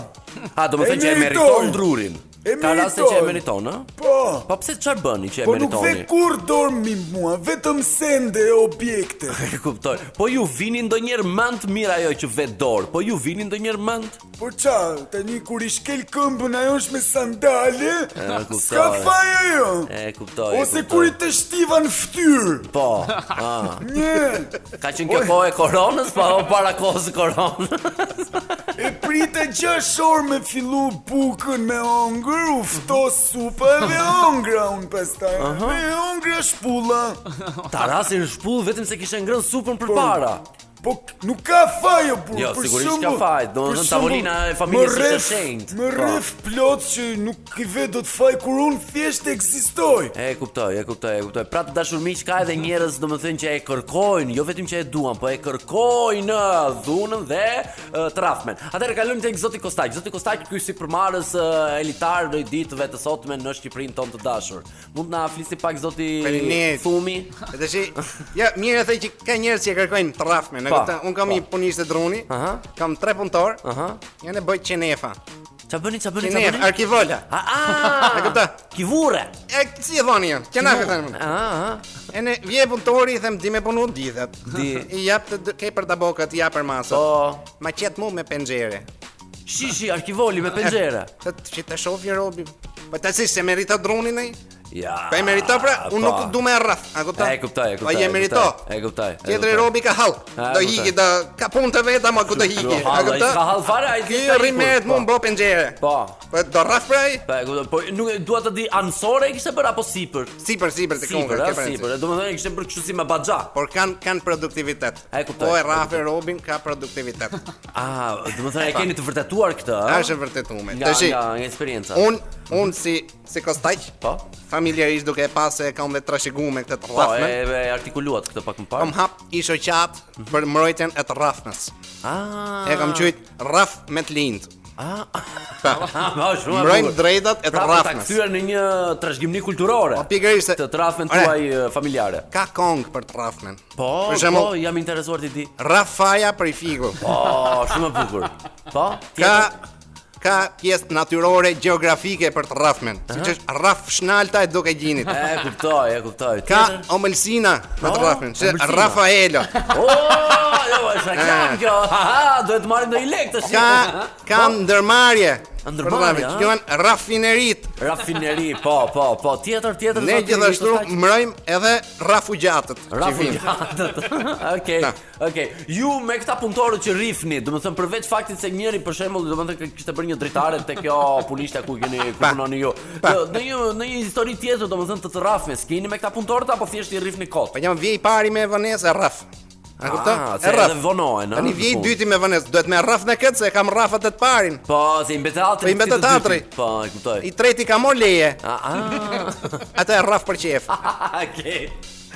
[SPEAKER 5] A, do më
[SPEAKER 2] E
[SPEAKER 5] thënë që
[SPEAKER 2] meritoj.
[SPEAKER 5] e meriton drurin.
[SPEAKER 2] E
[SPEAKER 5] Ka raste që e
[SPEAKER 2] meriton.
[SPEAKER 5] meriton, ë?
[SPEAKER 2] Po.
[SPEAKER 5] Po pse çfarë bëni që e
[SPEAKER 2] Po nuk ve
[SPEAKER 5] meritoni?
[SPEAKER 2] kur dormi mua, vetëm sende e objekte.
[SPEAKER 5] E kuptoj. Po ju vini ndonjëherë mend mirë ajo që vet dorë. Po ju vini ndonjëherë mend?
[SPEAKER 2] Po qa, tani kur i shkel këmbën ajo është me sandale,
[SPEAKER 5] kuptoj.
[SPEAKER 2] s'ka faj ajo.
[SPEAKER 5] E kuptoj. e
[SPEAKER 2] Ose
[SPEAKER 5] kuptoj.
[SPEAKER 2] kur i të shtiva në fytyrë.
[SPEAKER 5] Po. Ah.
[SPEAKER 2] Një,
[SPEAKER 5] Ka qenë kjo kohë e koronës, pa o para kohës e koronës.
[SPEAKER 2] e prite 6 orë me fillu bukën me ongër, u fto supa dhe ongra unë pastaj. Me ongra shpulla.
[SPEAKER 5] Ta rasin në shpull vetëm se kishte ngrënë supën përpara.
[SPEAKER 2] Po k- nuk ka fajo burr.
[SPEAKER 5] Jo,
[SPEAKER 2] për
[SPEAKER 5] sigurisht
[SPEAKER 2] shembull-
[SPEAKER 5] ka faj, do të
[SPEAKER 2] për
[SPEAKER 5] thënë
[SPEAKER 2] shembull,
[SPEAKER 5] tavolina e familjes
[SPEAKER 2] më
[SPEAKER 5] ishte
[SPEAKER 2] rref-
[SPEAKER 5] shenjtë.
[SPEAKER 2] Më
[SPEAKER 5] Po.
[SPEAKER 2] rref plot që nuk i ve do të faj kur unë thjesht ekzistoj.
[SPEAKER 5] E kuptoj, e kuptoj, e kuptoj. Pra të dashur miq ka edhe njerëz domethënë që e kërkojnë, jo vetëm që e duan, po e kërkojnë ë, dhunën dhe uh, trafmen. Atëherë kalojmë tek zoti Kostaj. Zoti Kostaj ky si përmarrës ë, elitar në ditëve të sotme në Shqipërinë tonë të dashur. Mund na flisni pak zoti
[SPEAKER 6] Faleminderit.
[SPEAKER 5] Thumi?
[SPEAKER 6] Edhe si, ja, Jo, mirë e thej që ka njerëz që e kërkojnë trafme, në
[SPEAKER 5] Pa,
[SPEAKER 6] këta, unë kam
[SPEAKER 5] pa.
[SPEAKER 6] një punishtë të droni,
[SPEAKER 5] Aha.
[SPEAKER 6] kam tre punëtor,
[SPEAKER 5] Aha.
[SPEAKER 6] janë e bëjt qenefa,
[SPEAKER 5] Ça bëni, ça bëni, ça
[SPEAKER 6] qenef,
[SPEAKER 5] bëni?
[SPEAKER 6] arkivola,
[SPEAKER 5] A, a,
[SPEAKER 6] E kuptoj.
[SPEAKER 5] Kivure.
[SPEAKER 6] e si e dhoni janë, qenefa të nëmë.
[SPEAKER 5] A, a,
[SPEAKER 6] E ne vje punëtori i them di me punu dithet.
[SPEAKER 5] Di.
[SPEAKER 6] I jap të dë- ke për tabokat, i jap për masat.
[SPEAKER 5] Po.
[SPEAKER 6] Ma qet mu me penxhere.
[SPEAKER 5] shishi arkivoli me penxhere.
[SPEAKER 6] Të që të shoh i robi. Po ta si se merito dronin ai?
[SPEAKER 5] Ja.
[SPEAKER 6] Po e merito pra, unë
[SPEAKER 5] Ah, po.
[SPEAKER 6] nuk du me rreth. A kupton?
[SPEAKER 5] E kuptoj, e kuptoj.
[SPEAKER 6] Po je
[SPEAKER 5] e
[SPEAKER 6] merito.
[SPEAKER 5] kuptoj, E kuptoj. e
[SPEAKER 6] Tjetri
[SPEAKER 5] kuptoj.
[SPEAKER 6] robi ka hall.
[SPEAKER 5] E,
[SPEAKER 6] Do
[SPEAKER 5] kuptoj.
[SPEAKER 6] hiki, do ka punë të veta, ma ku do hiki.
[SPEAKER 5] Jo, hall, ai s'ka hall fare, ai
[SPEAKER 6] Ky
[SPEAKER 5] s'ka
[SPEAKER 6] rri
[SPEAKER 5] ikur.
[SPEAKER 6] merret mu
[SPEAKER 5] Po.
[SPEAKER 6] mbo penxhere.
[SPEAKER 5] Po.
[SPEAKER 6] Po do rreth pra ai?
[SPEAKER 5] Po, e kuptoj, po nuk e dua të di ansore e kishte bërë apo sipër?
[SPEAKER 6] Sipër, sipër të
[SPEAKER 5] Sipër,
[SPEAKER 6] kongë.
[SPEAKER 5] a, sipër. Domethënë e kishte bërë kështu si me baxha.
[SPEAKER 6] Por kanë kanë produktivitet.
[SPEAKER 5] E, kuptoj,
[SPEAKER 6] Po e
[SPEAKER 5] e
[SPEAKER 6] rrafe Robin ka produktivitet.
[SPEAKER 5] Ah, domethënë e keni të vërtetuar këtë, a?
[SPEAKER 6] Është e vërtetuar.
[SPEAKER 5] Nga
[SPEAKER 6] Tashi,
[SPEAKER 5] nga nga eksperjenca.
[SPEAKER 6] Un un si si kostaq,
[SPEAKER 5] Po.
[SPEAKER 6] familjarisht duke e pas se kam dhe trashëguar me këtë të
[SPEAKER 5] Po, e,
[SPEAKER 6] rrafme.
[SPEAKER 5] e artikuluat këtë pak më
[SPEAKER 6] Kam
[SPEAKER 5] parë.
[SPEAKER 6] hap i shoqat për mbrojtjen e të rrafmes.
[SPEAKER 5] Ah.
[SPEAKER 6] E kam quajt rraf me të lindë.
[SPEAKER 5] Ah.
[SPEAKER 6] Pa.
[SPEAKER 5] Ah, ma, shumë e
[SPEAKER 6] Mbrojnë
[SPEAKER 5] bukur.
[SPEAKER 6] drejtat e të
[SPEAKER 5] Pra, për ta
[SPEAKER 6] rrafmes.
[SPEAKER 5] kthyer në një trashëgimni kulturore.
[SPEAKER 6] Po, pikërisht se-
[SPEAKER 5] të trafmen
[SPEAKER 6] Ore.
[SPEAKER 5] tuaj e, familjare.
[SPEAKER 6] Ka kong për të rrafmen.
[SPEAKER 5] Po,
[SPEAKER 6] për
[SPEAKER 5] po,
[SPEAKER 6] shembull,
[SPEAKER 5] jam interesuar ti di.
[SPEAKER 6] rrafaja për i fiku.
[SPEAKER 5] Po, shumë e bukur. Po,
[SPEAKER 6] Ka
[SPEAKER 5] tjetër?
[SPEAKER 6] ka pjesë natyrore gjeografike për të rrafmen, siç është rraf shnalta e duke gjinit.
[SPEAKER 5] E kuptoj, e kuptoj.
[SPEAKER 6] Ka
[SPEAKER 5] Tjetër?
[SPEAKER 6] omëlsina për të
[SPEAKER 5] Po,
[SPEAKER 6] rrafmen, si
[SPEAKER 5] omëlsina.
[SPEAKER 6] Rafaelo.
[SPEAKER 5] O, jo, është reklam
[SPEAKER 6] E.
[SPEAKER 5] kjo. Aha, duhet marrim në lek tash.
[SPEAKER 6] Eh. Ka ka ndërmarrje.
[SPEAKER 5] Ndërmarrje, Po. a?
[SPEAKER 6] Quhen rafinerit.
[SPEAKER 5] rafineri, po, po, po, tjetër, tjetër.
[SPEAKER 6] Ne
[SPEAKER 5] zotëri,
[SPEAKER 6] gjithashtu
[SPEAKER 5] kështu taq-
[SPEAKER 6] mbrojmë edhe rafugjatët. që
[SPEAKER 5] Rafu
[SPEAKER 6] vinë.
[SPEAKER 5] gjatët. Okej.
[SPEAKER 6] Ta.
[SPEAKER 5] Okej. Ju me këta punëtorë që rrifni, domethënë përveç faktit se njëri për shembull, domethënë kë- kishte bërë një dritare te kjo punishta ku keni ku
[SPEAKER 6] Pa.
[SPEAKER 5] punoni ju. Jo,
[SPEAKER 6] Pa.
[SPEAKER 5] Në një në një histori tjetër, domethënë të të rrafme, s'keni me këta punëtorët apo thjesht i rrifni
[SPEAKER 6] Po
[SPEAKER 5] kot?
[SPEAKER 6] jam vje i pari me vënes e rraf. A kupton?
[SPEAKER 5] Ah, se
[SPEAKER 6] Po, E rraf.
[SPEAKER 5] edhe vonohen, ah, po. a?
[SPEAKER 6] Tani vje i
[SPEAKER 5] Bukur.
[SPEAKER 6] dyti me vënes, duhet me rraf në këtë se e kam rrafat e të parin.
[SPEAKER 5] Po, se i mbetet atri.
[SPEAKER 6] Po, i mbetet atri.
[SPEAKER 5] Po, e kuptoj.
[SPEAKER 6] I treti ka mor leje,
[SPEAKER 5] Ah, ah.
[SPEAKER 6] atë e rraf për qef.
[SPEAKER 5] Okej.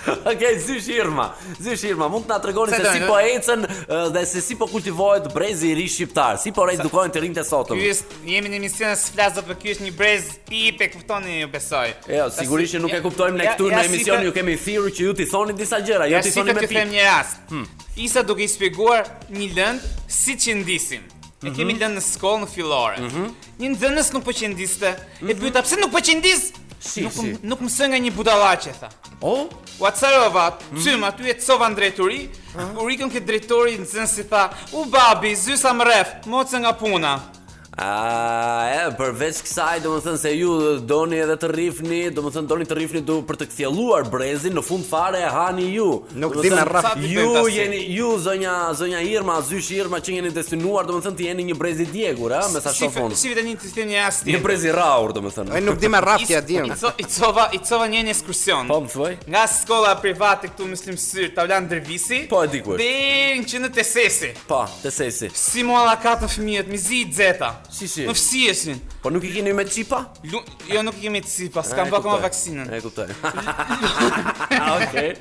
[SPEAKER 5] Okej, zysh Irma. Zysh Irma, mund të na tregoni
[SPEAKER 6] Se
[SPEAKER 5] se
[SPEAKER 6] do,
[SPEAKER 5] si
[SPEAKER 6] ne?
[SPEAKER 4] jo.
[SPEAKER 5] po ecën ë, dhe se si po kultivohet brezi i ri shqiptar, si po reedukohen të rinjtë e sotëm.
[SPEAKER 4] Ky është jemi në emision së flas dot, por ky është një brez pip e kuptoni ju besoj.
[SPEAKER 5] Jo, sigurisht që nuk e kuptojmë ne këtu në emision, ju kemi thirrur që ju t'i thoni disa gjëra, ju
[SPEAKER 4] Ja
[SPEAKER 5] t'i
[SPEAKER 4] si
[SPEAKER 5] thoni
[SPEAKER 4] të
[SPEAKER 5] me Hmm.
[SPEAKER 4] të them
[SPEAKER 5] pikë.
[SPEAKER 4] një rast. Isa duke i shpjeguar një lënd si qendisin. E kemi
[SPEAKER 5] Mhm.
[SPEAKER 4] lënë në shkollë në fillore. Një nxënës nuk po qendiste. E
[SPEAKER 5] Mhm.
[SPEAKER 4] pyeta pse nuk po qendis?
[SPEAKER 5] Si,
[SPEAKER 4] nuk,
[SPEAKER 5] si.
[SPEAKER 4] nuk më së nga një budallaqe tha.
[SPEAKER 5] O,
[SPEAKER 4] U acarova, cym aty e cova në drejtori, u rikën këtë drejtori nxënës si tha, u babi, zysa më rref, mocë nga puna.
[SPEAKER 5] A, e, përveç kësaj, do më thënë se ju doni edhe të rrifni, do më thënë doni të rrifni du për të kthjelluar brezin, në fund fare e hani ju.
[SPEAKER 6] Nuk
[SPEAKER 5] Do më
[SPEAKER 6] di me
[SPEAKER 5] thënë,
[SPEAKER 6] rraf.
[SPEAKER 5] Ju jeni, ju zonja, zonja Irma, zysh Irma që jeni destinuar, do më thënë të jeni një brez i djegur, a, me sa
[SPEAKER 4] Si
[SPEAKER 5] shofon.
[SPEAKER 4] si vetë një të them një rast.
[SPEAKER 5] Një
[SPEAKER 4] tjetër.
[SPEAKER 5] brez i raur, do më thënë.
[SPEAKER 6] Ai nuk di me rraf t'ja
[SPEAKER 4] I
[SPEAKER 6] dim.
[SPEAKER 4] co- I cova, i cova një një ekskursion.
[SPEAKER 5] Po më thuaj?
[SPEAKER 4] Nga shkolla private këtu Muslim Syr, Tavlan Dervisi.
[SPEAKER 5] Po, e di ku është.
[SPEAKER 4] Deri në qendër të sesi.
[SPEAKER 5] Pa, Po, të sesi.
[SPEAKER 4] Si mua la katën fëmijët, mi zi i xeta.
[SPEAKER 5] Si, si.
[SPEAKER 4] Më fsiheshin.
[SPEAKER 5] Po nuk i keni me qipa?
[SPEAKER 4] Lu, jo nuk i kemi të si pas,
[SPEAKER 5] E,
[SPEAKER 4] kam bërë akoma
[SPEAKER 5] kuptoj.
[SPEAKER 4] vaksinën.
[SPEAKER 5] E kuptoj. Okej.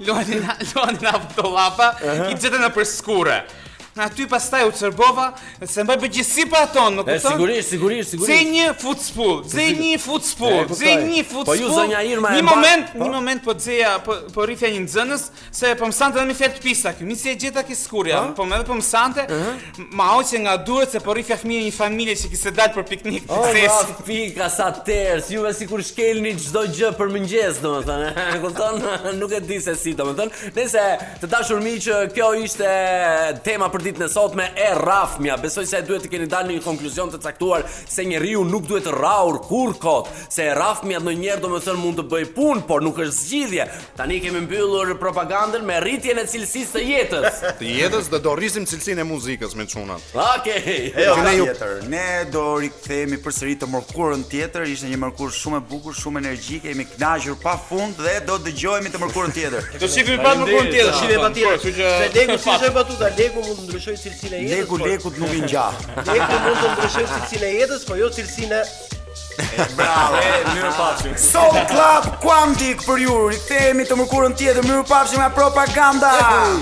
[SPEAKER 4] Luani na, luani na për të lapa, i xeta në përskure. aty pastaj u çrbova se mbaj përgjithësi për aton, më
[SPEAKER 5] E
[SPEAKER 4] kupton?
[SPEAKER 5] sigurisht, sigurisht,
[SPEAKER 4] Ze
[SPEAKER 5] sigurisht.
[SPEAKER 4] një futspur, ze një
[SPEAKER 5] E,
[SPEAKER 4] futspur,
[SPEAKER 5] kuptoj.
[SPEAKER 4] ze një futspur.
[SPEAKER 5] Po ju, zonja Irma,
[SPEAKER 4] Një
[SPEAKER 5] e mba-
[SPEAKER 4] moment,
[SPEAKER 5] po.
[SPEAKER 4] një moment po zeja, po po rrifja një nxënës se po mësante dhe me fjalë të pisa këtu. Mi se e gjeta ke skurja, po më edhe po mësante, ma hoqe nga duret se po rrifja fëmijë një familje që kishte dalë për piknik
[SPEAKER 5] O,
[SPEAKER 4] të
[SPEAKER 5] ma
[SPEAKER 4] sesë.
[SPEAKER 5] pika Oh, sa tërës, juve si kur shkelni çdo gjë për mëngjes, domethënë. Kupton? Nuk e di se si, domethënë. Nëse të dashur miq, kjo ishte tema për ditën e sotme e rrafmja. Besoj se duhet të keni dalë në një konkluzion të caktuar se njeriu nuk duhet të rraur kur kot, se e rrafmja ndonjëherë domethënë mund të bëj punë, por nuk është zgjidhje. Tani kemi mbyllur propagandën me rritjen e cilësisë të jetës.
[SPEAKER 6] Të jetës dhe do rrisim cilësinë e muzikës me çunat.
[SPEAKER 5] Okej.
[SPEAKER 2] Jo,
[SPEAKER 6] Që
[SPEAKER 2] ka
[SPEAKER 6] ne ju-
[SPEAKER 2] tjetër. Ne do rikthehemi përsëri të mërkurën tjetër. Ishte një mërkurë shumë e bukur, shumë energjike, jemi kënaqur pafund dhe do dëgjohemi të mërkurën tjetër.
[SPEAKER 4] Do shifim pa më punë tjetër.
[SPEAKER 7] Shive pa tjetër.
[SPEAKER 4] Kështu që
[SPEAKER 7] Se Leku si është e batuta, Leku mund të ndryshoj cilësinë e jetës.
[SPEAKER 2] Leku
[SPEAKER 7] por-
[SPEAKER 2] lekut nuk i ngjah.
[SPEAKER 7] Leku mund të ndryshoj cilësinë e jetës, po jo cilësinë e
[SPEAKER 2] Bravo. Soul Club Quantic për ju. Rikthehemi të mërkurën tjetër, mirupafshim nga propaganda.